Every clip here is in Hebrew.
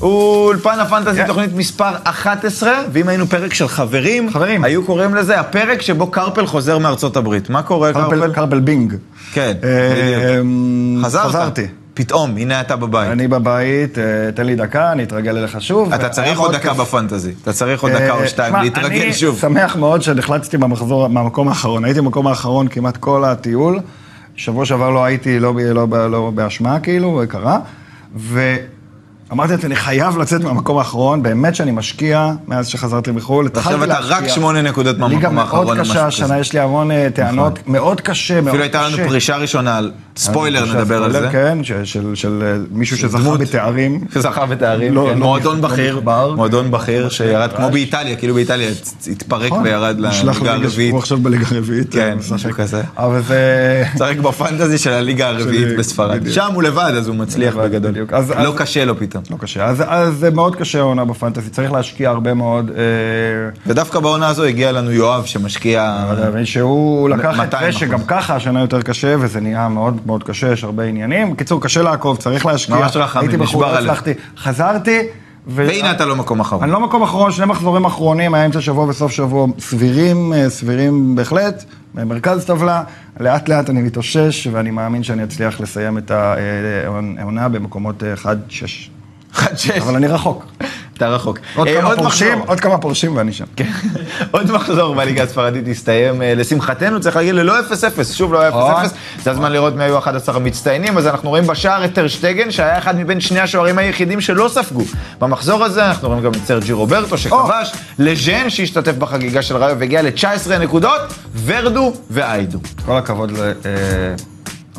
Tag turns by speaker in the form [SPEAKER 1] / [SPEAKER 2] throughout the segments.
[SPEAKER 1] אולפן הפנטזי,
[SPEAKER 2] כן.
[SPEAKER 1] תוכנית מספר 11, ואם היינו פרק של חברים,
[SPEAKER 2] חברים.
[SPEAKER 1] היו קוראים לזה הפרק שבו קרפל חוזר מארצות הברית. מה קורה, קרפל?
[SPEAKER 2] קרפל- קרפל בינג.
[SPEAKER 1] כן,
[SPEAKER 2] אה,
[SPEAKER 1] בדיוק. חזרת.
[SPEAKER 2] חזרתי.
[SPEAKER 1] פתאום, הנה אתה בבית.
[SPEAKER 2] אני בבית, אה, תן לי דקה, אני אתרגל אליך שוב.
[SPEAKER 1] אתה צריך עוד דקה בפנטזי. אתה צריך עוד דקה או
[SPEAKER 2] אה,
[SPEAKER 1] שתיים
[SPEAKER 2] תשמע,
[SPEAKER 1] להתרגל
[SPEAKER 2] אני
[SPEAKER 1] שוב.
[SPEAKER 2] שמח מאוד שנחלצתי במחזור, מהמקום האחרון. הייתי במקום האחרון כמעט כל הטיול. שבוע שעבר לא הייתי, לא, ב- לא, ב- לא באשמה כאילו, קרה. ואמרתי לעצמי, אני חייב לצאת מהמקום האחרון. באמת שאני משקיע מאז שחזרתי מחו"ל.
[SPEAKER 1] עכשיו
[SPEAKER 2] התחלתי
[SPEAKER 1] אתה
[SPEAKER 2] להשקיע.
[SPEAKER 1] רק שמונה נקודות
[SPEAKER 2] ליגה
[SPEAKER 1] מהמקום האחרון.
[SPEAKER 2] מאוד
[SPEAKER 1] או משהו
[SPEAKER 2] קשה,
[SPEAKER 1] כזה.
[SPEAKER 2] השנה יש לי המון אה, טענות, מאוד קשה, מאוד קשה.
[SPEAKER 1] אפילו הייתה לנו פרישה ראשונה על ספוילר,
[SPEAKER 2] פרישה,
[SPEAKER 1] נדבר על
[SPEAKER 2] ספוילר,
[SPEAKER 1] זה.
[SPEAKER 2] כן, ש- של- של אה, מישהו שזכה
[SPEAKER 1] דמות.
[SPEAKER 2] בתארים.
[SPEAKER 1] שזכה בתארים,
[SPEAKER 2] לא,
[SPEAKER 1] כן.
[SPEAKER 2] לא
[SPEAKER 1] מועדון
[SPEAKER 2] נכ- לא
[SPEAKER 1] בכיר,
[SPEAKER 2] נכבר.
[SPEAKER 1] מועדון בכיר שירד כמו
[SPEAKER 2] רעש.
[SPEAKER 1] באיטליה, כאילו באיטליה הצ- התפרק וירד
[SPEAKER 2] נכון. נשלח
[SPEAKER 1] לליגה
[SPEAKER 2] לליגה
[SPEAKER 1] הרביעית.
[SPEAKER 2] שהוא עכשיו בליגה הרביעית.
[SPEAKER 1] כן,
[SPEAKER 2] אה, משחק.
[SPEAKER 1] משהו כזה.
[SPEAKER 2] אבל זה...
[SPEAKER 1] משחק בפנטזי של הליגה הרביעית
[SPEAKER 2] של-
[SPEAKER 1] בספרד.
[SPEAKER 2] בדיוק.
[SPEAKER 1] שם הוא לבד, אז הוא מצליח
[SPEAKER 2] לבד,
[SPEAKER 1] בגדול.
[SPEAKER 2] בדיוק. אז-
[SPEAKER 1] לא
[SPEAKER 2] אז-
[SPEAKER 1] קשה לו פתאום.
[SPEAKER 2] לא קשה. אז- אז זה מאוד קשה העונה בפנטזי, צריך להשקיע הרבה מאוד. אה,
[SPEAKER 1] ודווקא בעונה הזו הגיע לנו יואב שמשקיע...
[SPEAKER 2] אבל שהוא לקח את
[SPEAKER 1] 200%.
[SPEAKER 2] זה שגם ככה השנה יותר קשה, וזה נהיה מאוד מאוד קשה, יש הרבה עניינים. בקיצור, קשה לעקוב, צריך להשקיע.
[SPEAKER 1] ממש רחמים,
[SPEAKER 2] הייתי בחו"ל,
[SPEAKER 1] נשבר
[SPEAKER 2] לא
[SPEAKER 1] הלב.
[SPEAKER 2] הצלחתי. חזרתי. ו-
[SPEAKER 1] והנה אתה לא מקום אחרון.
[SPEAKER 2] אני לא מקום אחרון, שני מחזורים אחרונים, היה אמצע שבוע וסוף שבוע סבירים, אה, סבירים בהחלט, במרכז טבלה. לאט לאט אני מתאושש, ואני מאמין שאני אצליח לסיים את אה, העונה במקומות 1-6.
[SPEAKER 1] אחד שש.
[SPEAKER 2] לא- אבל אני רחוק.
[SPEAKER 1] אתה רחוק.
[SPEAKER 2] עוד
[SPEAKER 1] אה,
[SPEAKER 2] כמה פורשים,
[SPEAKER 1] מחזור. כן.
[SPEAKER 2] עוד כמה פורשים ואני שם.
[SPEAKER 1] עוד מחזור בליגה הספרדית הסתיים, אה, לשמחתנו צריך להגיד ללא 0-0, שוב לא היה 0-0, זה הזמן לראות מי היו 11 המצטיינים, אז אנחנו רואים בשער את טרשטגן, שהיה אחד מבין שני השוערים היחידים שלא ספגו. במחזור הזה אנחנו רואים גם את סרג'י רוברטו שכבש, לז'ן שהשתתף בחגיגה של ראיו והגיע ל-19 נקודות, ורדו ואיידו.
[SPEAKER 2] כל הכבוד ל... אה,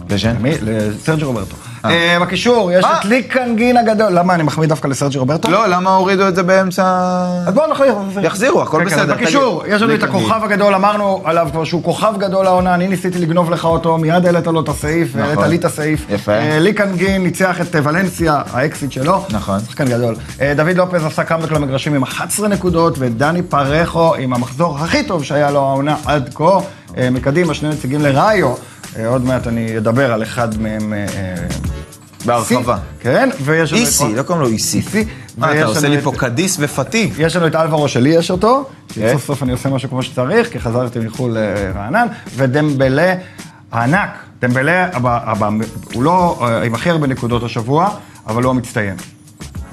[SPEAKER 1] לז'ן?
[SPEAKER 2] מי? לסרג'י רוברטו.
[SPEAKER 1] אה.
[SPEAKER 2] אה, בקישור, יש
[SPEAKER 1] אה.
[SPEAKER 2] את לי קנגין הגדול. למה אני מחמיא דווקא לסרג'י רוברטו?
[SPEAKER 1] לא, למה הורידו את זה באמצע...
[SPEAKER 2] אז בואו נחליף.
[SPEAKER 1] יחזירו, הכל
[SPEAKER 2] כן, כן, אז
[SPEAKER 1] בסדר,
[SPEAKER 2] בקישור,
[SPEAKER 1] תגיד.
[SPEAKER 2] יש לנו
[SPEAKER 1] לי
[SPEAKER 2] את
[SPEAKER 1] קנגין.
[SPEAKER 2] הכוכב הגדול, אמרנו עליו כבר שהוא כוכב גדול העונה, אני ניסיתי לגנוב לך אותו, מיד העלית לו את הסעיף, העלית לי את הסעיף.
[SPEAKER 1] נכון. יפה.
[SPEAKER 2] אה, לי קנגין ניצח את אה, ולנסיה, האקסיט שלו.
[SPEAKER 1] נכון.
[SPEAKER 2] שחקן גדול. אה, דוד לופז עשה קאמבק למגרשים עם 11 נקודות, ודני פרחו עם המחזור הכי טוב שהיה לו העונה עד כה. אה, מקדימה, שני נציגים לראיו. אה, עוד מעט אני אדבר על אחד מהם. אה,
[SPEAKER 1] בהרחבה.
[SPEAKER 2] C. כן, ויש לנו את-
[SPEAKER 1] איסי, לא קוראים לו איסי.
[SPEAKER 2] איסי.
[SPEAKER 1] מה,
[SPEAKER 2] ויש
[SPEAKER 1] אתה עושה
[SPEAKER 2] לנו
[SPEAKER 1] לי
[SPEAKER 2] את-
[SPEAKER 1] פה קדיס ופתי?
[SPEAKER 2] יש לנו את אלברו שלי יש אותו, כי
[SPEAKER 1] כן.
[SPEAKER 2] סוף סוף אני עושה משהו כמו שצריך, כי חזרתי מחו"ל אה, רענן, ודמבלה הענק, דמבלה, הב- הב- הוא לא אה, עם הכי הרבה נקודות השבוע, אבל הוא המצטיין.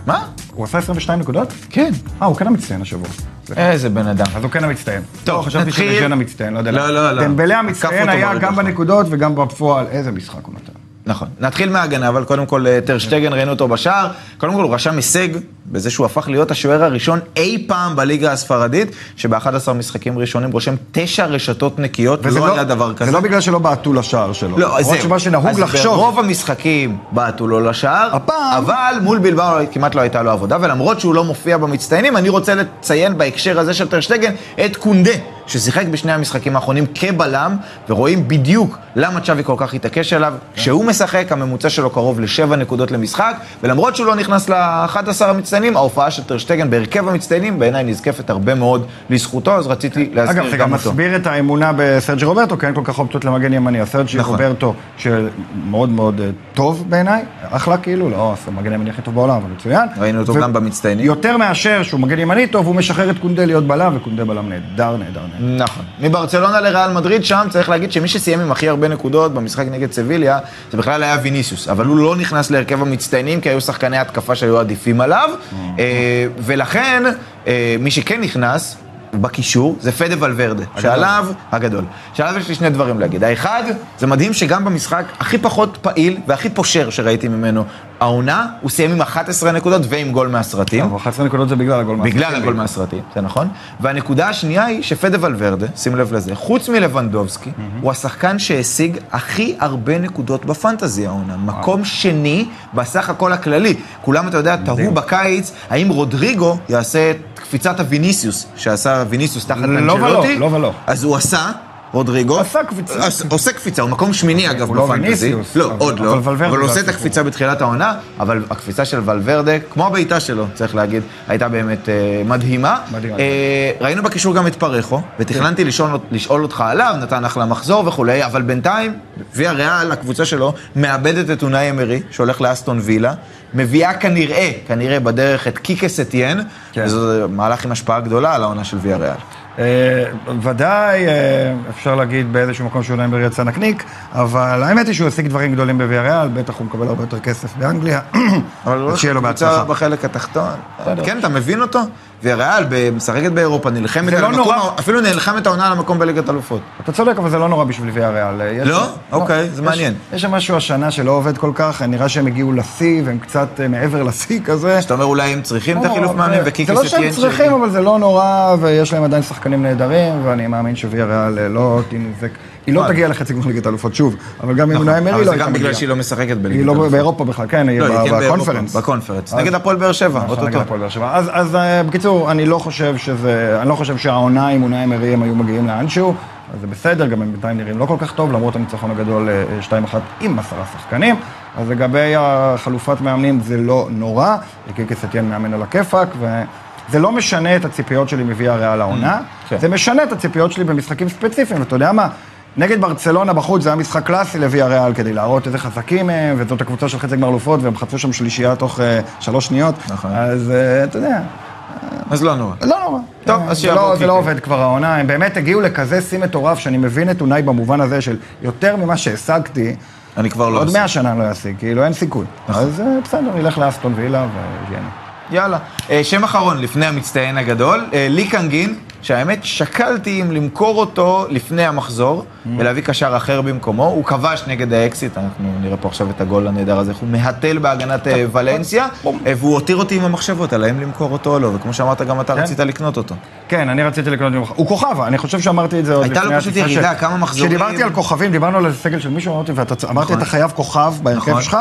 [SPEAKER 1] מה?
[SPEAKER 2] הוא עשה 22 נקודות?
[SPEAKER 1] כן.
[SPEAKER 2] אה, הוא כן המצטיין השבוע.
[SPEAKER 1] איזה בן אדם.
[SPEAKER 2] אז הוא כן המצטיין.
[SPEAKER 1] טוב,
[SPEAKER 2] לא, חשבתי
[SPEAKER 1] נתחיל.
[SPEAKER 2] שלז'ן המצטיין, לא יודע.
[SPEAKER 1] לא,
[SPEAKER 2] למה.
[SPEAKER 1] לא, לא.
[SPEAKER 2] דמבלה
[SPEAKER 1] עקף
[SPEAKER 2] המצטיין
[SPEAKER 1] אותו
[SPEAKER 2] היה
[SPEAKER 1] ברגע
[SPEAKER 2] גם
[SPEAKER 1] האחרון.
[SPEAKER 2] בנקודות וגם בפועל. איזה משחק הוא נתן.
[SPEAKER 1] נכון. נתחיל מההגנה, אבל קודם כל אה, טר שטגן, ראינו אותו בשער. קודם כל הוא רשם הישג בזה שהוא הפך להיות השוער הראשון אי פעם בליגה הספרדית, שב-11 משחקים ראשונים רושם תשע רשתות נקיות,
[SPEAKER 2] וזה
[SPEAKER 1] לא היה דבר כזה.
[SPEAKER 2] זה לא בגלל שלא בעטו לשער שלו.
[SPEAKER 1] לא, אז
[SPEAKER 2] למרות
[SPEAKER 1] זהו.
[SPEAKER 2] שמה שנהוג
[SPEAKER 1] אז
[SPEAKER 2] לחשוב.
[SPEAKER 1] ברוב המשחקים בעטו לו לשער,
[SPEAKER 2] הפעם-
[SPEAKER 1] אבל מול בלבאו כמעט לא הייתה לו עבודה, ולמרות שהוא לא מופיע במצטיינים, אני רוצה לציין בהקשר הזה של טרשטגן את קונדה, ששיחק בשני המשחקים האחרונים כבלם, ורואים בדיוק למה צ'אבי כל כך התעקש עליו.
[SPEAKER 2] כן.
[SPEAKER 1] כשהוא משחק, הממוצע שלו קרוב לשבע נקודות למשחק, ולמרות שהוא לא נכנס ל-11 המצטיינים, ההופעה של טרשטגן בהרכב המצטיינים בעיניי נזקפת הרבה מאוד לזכותו, אז רציתי
[SPEAKER 2] אגב,
[SPEAKER 1] להזכיר
[SPEAKER 2] זה
[SPEAKER 1] גם
[SPEAKER 2] גם
[SPEAKER 1] אותו.
[SPEAKER 2] מסביר את האמונה בסרג'י רוברטו, כי אין כל כך אופציות למגן ימני. הסרג'י
[SPEAKER 1] נכון.
[SPEAKER 2] רוברטו, שמאוד מאוד אה, טוב בעיניי, אחלה כאילו, לא, זה המגן הימני הכי טוב בעולם, אבל מצוין.
[SPEAKER 1] ראינו אותו
[SPEAKER 2] ו-
[SPEAKER 1] גם במצטיינים.
[SPEAKER 2] יותר מאשר שהוא מגן ימני טוב, הוא משחרר את קונדה להיות בלם, וקונדה בלם נהדר, נהדר, נהדר.
[SPEAKER 1] נכון. מברצלונה לריאל מדריד, שם צריך להגיד שמי שסיים עם הכי הרבה נקודות במשחק נגד סביליה, זה בכלל היה ויניסיוס. אבל הוא לא נכנס להרכב המצטיינים, כי היו שחקני התקפה שהיו עדיפים עליו. אה, ולכן, אה, מי שכן נכנס... בקישור, זה פדה ולוורדה, שעליו, הגדול. שעליו יש לי שני דברים להגיד. האחד, זה מדהים שגם במשחק הכי פחות פעיל והכי פושר שראיתי ממנו, העונה, הוא סיים עם 11 נקודות ועם גול מהסרטים.
[SPEAKER 2] אבל 11 נקודות זה בגלל הגול.
[SPEAKER 1] בגלל
[SPEAKER 2] מהסרטים.
[SPEAKER 1] הגול מהסרטים, זה נכון. והנקודה השנייה היא שפדה ולוורדה, שים לב לזה, חוץ מלבנדובסקי, הוא השחקן שהשיג הכי הרבה נקודות בפנטזי העונה. מקום שני בסך הכל הכללי. כולם, אתה יודע, תהו בקיץ, האם רודריגו יעשה את קפיצת הוויניסיוס, שעשה ויניסיוס תחת
[SPEAKER 2] לא ולא,
[SPEAKER 1] אנג'לוטי?
[SPEAKER 2] לא ולא.
[SPEAKER 1] אז הוא עשה. רודריגו.
[SPEAKER 2] עשה קפיצה.
[SPEAKER 1] עש- עושה קפיצה, הוא מקום שמיני אגב
[SPEAKER 2] הוא לא
[SPEAKER 1] בפנטזי.
[SPEAKER 2] ויניסיוס,
[SPEAKER 1] לא,
[SPEAKER 2] אבל-
[SPEAKER 1] עוד
[SPEAKER 2] אבל
[SPEAKER 1] לא.
[SPEAKER 2] ולוורדה
[SPEAKER 1] אבל הוא עושה
[SPEAKER 2] זה
[SPEAKER 1] את
[SPEAKER 2] הסיפור.
[SPEAKER 1] הקפיצה בתחילת העונה, אבל הקפיצה של ולוורדה, כמו הבעיטה שלו, צריך להגיד, הייתה באמת אה, מדהימה.
[SPEAKER 2] מדהימה.
[SPEAKER 1] אה, ראינו בקישור גם את פרחו, ותכננתי לשאול- לשאול אותך עליו, נתן אחלה מחזור וכולי, אבל בינתיים, ויה ריאל, הקבוצה שלו, מאבדת את אונאי אמרי, שהולך לאסטון וילה, מביאה כנראה, כנראה בדרך את קיקה סטיאן,
[SPEAKER 2] כן.
[SPEAKER 1] וזה מהלך עם השפעה גדולה על העונה של ויה ריאל.
[SPEAKER 2] אה, ודאי, אה, אפשר להגיד באיזשהו מקום שאולי אמרי יצא נקניק, אבל האמת היא שהוא השיג דברים גדולים בוויאריאל, בטח הוא מקבל הרבה יותר כסף באנגליה,
[SPEAKER 1] אבל הוא
[SPEAKER 2] אז
[SPEAKER 1] הולך
[SPEAKER 2] שיהיה לו
[SPEAKER 1] לקבוצה
[SPEAKER 2] בהצלחה.
[SPEAKER 1] בחלק התחתון. כן, אתה מבין אותו? וריאל ב- משחקת באירופה, נלחמת
[SPEAKER 2] זה
[SPEAKER 1] על
[SPEAKER 2] לא
[SPEAKER 1] המקום,
[SPEAKER 2] נורא.
[SPEAKER 1] אפילו נלחמת העונה על המקום בליגת אלופות.
[SPEAKER 2] אתה צודק, אבל זה לא נורא בשביל ויאריאל. אה, יש-
[SPEAKER 1] לא? אוקיי, זה
[SPEAKER 2] יש-
[SPEAKER 1] מעניין.
[SPEAKER 2] יש שם משהו השנה שלא עובד כל כך, נראה שהם הגיעו לשיא, והם קצת אה, מעבר לשיא כזה.
[SPEAKER 1] שאתה אומר אולי הם צריכים את
[SPEAKER 2] לא,
[SPEAKER 1] החילוף מאמנים
[SPEAKER 2] זה-
[SPEAKER 1] וקיקי
[SPEAKER 2] זה לא
[SPEAKER 1] סטיאן
[SPEAKER 2] שהם צריכים, אבל זה לא נורא, ויש להם עדיין שחקנים נהדרים, ואני מאמין שוויאריאל אה, לא תינזק. היא לא
[SPEAKER 1] נכון.
[SPEAKER 2] תגיע לחצי גמר ליגת האלופות שוב, אבל גם אם אולי
[SPEAKER 1] נכון,
[SPEAKER 2] אמרי
[SPEAKER 1] אבל
[SPEAKER 2] לא
[SPEAKER 1] זה
[SPEAKER 2] הייתה
[SPEAKER 1] גם בגלל
[SPEAKER 2] מגיעה.
[SPEAKER 1] שהיא לא משחקת
[SPEAKER 2] היא
[SPEAKER 1] בליגת
[SPEAKER 2] לא
[SPEAKER 1] אלופות.
[SPEAKER 2] באירופה בכלל, כן, היא
[SPEAKER 1] לא, היא כן
[SPEAKER 2] ב-
[SPEAKER 1] באירופה,
[SPEAKER 2] בקונפרנס.
[SPEAKER 1] בקונפרנס.
[SPEAKER 2] אז-
[SPEAKER 1] נגד הפועל באר שבע,
[SPEAKER 2] נכון, נגד
[SPEAKER 1] אוטוטו.
[SPEAKER 2] הפועל באר שבע. אז- אז אה, בקיצור, אני לא חושב שזה, אני לא חושב שהעונה עם אונאי אמרי הם היו מגיעים לאנשהו, אז זה בסדר, גם הם בינתיים נראים לא כל כך טוב, למרות הניצחון הגדול אה, אה, 2-1 עם עשרה שחקנים. אז לגבי החלופת מאמנים זה לא נורא, ריקי סטיאן מאמן על הכיפאק, וזה לא משנה את הציפיות שלי מביאה ריאל העונה,
[SPEAKER 1] כן.
[SPEAKER 2] זה משנה את הציפיות שלי במשחקים ספציפיים, ואתה יודע מה? נגד ברצלונה בחוץ זה היה משחק קלאסי לוויה ריאל כדי להראות איזה חזקים הם, וזאת הקבוצה של חצי גמר אלופות, והם חטפו שם שלישייה תוך אה, שלוש שניות.
[SPEAKER 1] נכון.
[SPEAKER 2] אז אה, אתה יודע,
[SPEAKER 1] אז לא נורא.
[SPEAKER 2] לא נורא.
[SPEAKER 1] טוב,
[SPEAKER 2] אה,
[SPEAKER 1] אז
[SPEAKER 2] זה
[SPEAKER 1] שיעבור
[SPEAKER 2] לא- זה
[SPEAKER 1] קיקו.
[SPEAKER 2] לא עובד כבר העונה, הם באמת הגיעו לכזה שיא מטורף, שאני מבין את אונאי במובן הזה של יותר ממה שהשגתי,
[SPEAKER 1] אני כבר לא...
[SPEAKER 2] עוד
[SPEAKER 1] עושה. נכון.
[SPEAKER 2] מאה שנה לא ישיג, כאילו אין סיכוי. אז אה, בסדר, נלך לאסטון וילה ויאנה.
[SPEAKER 1] יאללה. אה, שם אחרון לפני המצטיין הגדול, אה, לי קנגין, שהאמת שקלתי אם למכור אותו לפני המחזור
[SPEAKER 2] Mm.
[SPEAKER 1] ולהביא קשר אחר במקומו. הוא כבש נגד האקסיט, אנחנו נראה פה עכשיו את הגול הנהדר הזה, איך הוא מהתל בהגנת אה, ולנסיה, אה, והוא הותיר אותי עם המחשבות על האם למכור אותו או לא, וכמו שאמרת, גם אתה
[SPEAKER 2] כן.
[SPEAKER 1] רצית לקנות אותו.
[SPEAKER 2] כן, אני רציתי לקנות ממך. הוא כוכב, אני חושב שאמרתי את זה עוד לפני...
[SPEAKER 1] הייתה לו פשוט
[SPEAKER 2] הטיסה
[SPEAKER 1] ירידה, כמה מחזורים.
[SPEAKER 2] כשדיברתי על כוכבים, דיברנו על הסגל של מישהו, אמרתי, ואתה צ- אמרתי,
[SPEAKER 1] נכון.
[SPEAKER 2] אתה חייב כוכב בהרכב
[SPEAKER 1] נכון.
[SPEAKER 2] שלך,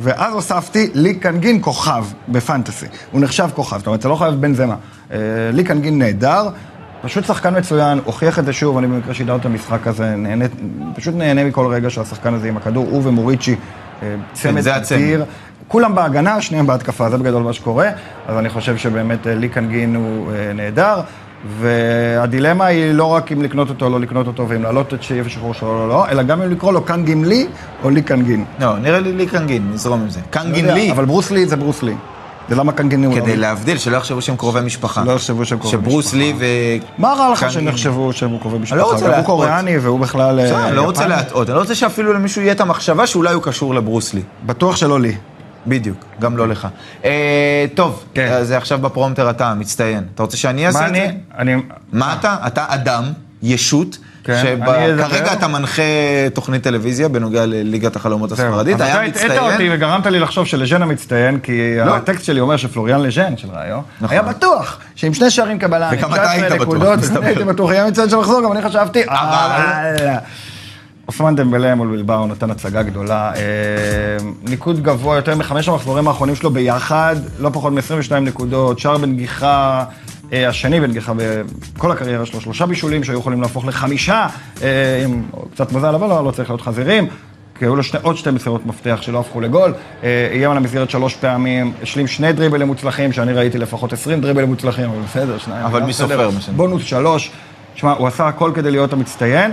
[SPEAKER 2] ואז הוספתי לי קנגין כוכב בפנטסי. הוא נחשב כוכב, זאת אומרת, אתה לא חייב בן זמה. אה, לי קנגין נהדר. פשוט שחקן מצוין, הוכיח את זה שוב, אני במקרה שידרתי את המשחק הזה, נהנה, פשוט נהנה מכל רגע שהשחקן הזה עם הכדור, הוא ומוריצ'י, אה, צמד
[SPEAKER 1] כן, זה הצמד.
[SPEAKER 2] אדיר. כולם בהגנה, שניהם בהתקפה, זה בגדול מה שקורה, אז אני חושב שבאמת אה, לי קנגין הוא אה, נהדר, והדילמה היא לא רק אם לקנות אותו או לא לקנות אותו, ואם להעלות את שאיף השחרור שלו או לא, לא, אלא גם אם לקרוא לו קנגים לי או לי קנגין.
[SPEAKER 1] לא, נראה לי לי קנגין, נזרום עם זה.
[SPEAKER 2] לא
[SPEAKER 1] קנגין
[SPEAKER 2] יודע,
[SPEAKER 1] לי,
[SPEAKER 2] אבל ברוס לי זה ברוס לי. זה למה קנגין הוא...
[SPEAKER 1] כדי להבדיל, שלא יחשבו שהם קרובי משפחה.
[SPEAKER 2] לא יחשבו שהם קרובי
[SPEAKER 1] שברוס
[SPEAKER 2] משפחה.
[SPEAKER 1] לי ו...
[SPEAKER 2] מה רע לך
[SPEAKER 1] קנגין.
[SPEAKER 2] שהם יחשבו שהם קרובי משפחה?
[SPEAKER 1] לא רוצה
[SPEAKER 2] גם הוא
[SPEAKER 1] להטעות.
[SPEAKER 2] קוריאני והוא בכלל... אה,
[SPEAKER 1] בסדר, אני לא רוצה
[SPEAKER 2] יפני.
[SPEAKER 1] להטעות, אני לא רוצה שאפילו למישהו יהיה את המחשבה שאולי הוא קשור לברוס לי.
[SPEAKER 2] בטוח שלא לי.
[SPEAKER 1] בדיוק, גם לא לך. אה, טוב,
[SPEAKER 2] כן.
[SPEAKER 1] אז עכשיו בפרומטר אתה, מצטיין. אתה רוצה שאני
[SPEAKER 2] מה
[SPEAKER 1] אעשה את זה?
[SPEAKER 2] אני? אני...
[SPEAKER 1] מה אתה? אתה אדם, ישות,
[SPEAKER 2] כן, אני אדבר.
[SPEAKER 1] שכרגע אתה מנחה תוכנית טלוויזיה בנוגע לליגת החלומות
[SPEAKER 2] זהו.
[SPEAKER 1] הספרדית,
[SPEAKER 2] אבל
[SPEAKER 1] היה
[SPEAKER 2] אתה הטעת אותי
[SPEAKER 1] מצטיין.
[SPEAKER 2] וגרמת לי לחשוב שלז'ן המצטיין, כי
[SPEAKER 1] לא.
[SPEAKER 2] הטקסט שלי אומר שפלוריאן לז'ן של ראיו,
[SPEAKER 1] נכון.
[SPEAKER 2] היה בטוח שעם שני שערים קבלה,
[SPEAKER 1] וגם
[SPEAKER 2] עם
[SPEAKER 1] אתה היית
[SPEAKER 2] 19
[SPEAKER 1] בטוח,
[SPEAKER 2] נקודות,
[SPEAKER 1] מסתבר.
[SPEAKER 2] אני הייתי בטוח, היה מצטיין של מחזור, גם אני חשבתי, אבל... אוסמן דמבלה מול בלבאו נתן הצגה גדולה, אה, ניקוד גבוה יותר מחמש המחזורים האחרונים שלו ביחד, לא פחות מ-22 נקודות, שער בנגיחה, אה, השני בנגיחה בכל הקריירה שלו, שלושה בישולים שהיו יכולים להפוך לחמישה, אה, עם קצת מזל, אבל לא, לא צריך להיות חזירים. כי היו לו שני, עוד שתי מסירות מפתח שלא הפכו לגול, אה, איים על המסגרת שלוש פעמים, השלים שני דריבלים מוצלחים, שאני ראיתי לפחות 20 דריבלים מוצלחים, אבל בסדר, שניים.
[SPEAKER 1] אבל
[SPEAKER 2] גם
[SPEAKER 1] מי סופר,
[SPEAKER 2] בסדר.
[SPEAKER 1] מה שנקרא.
[SPEAKER 2] בונוס שלוש. תשמע, הוא עשה הכל כדי להיות המצטיין,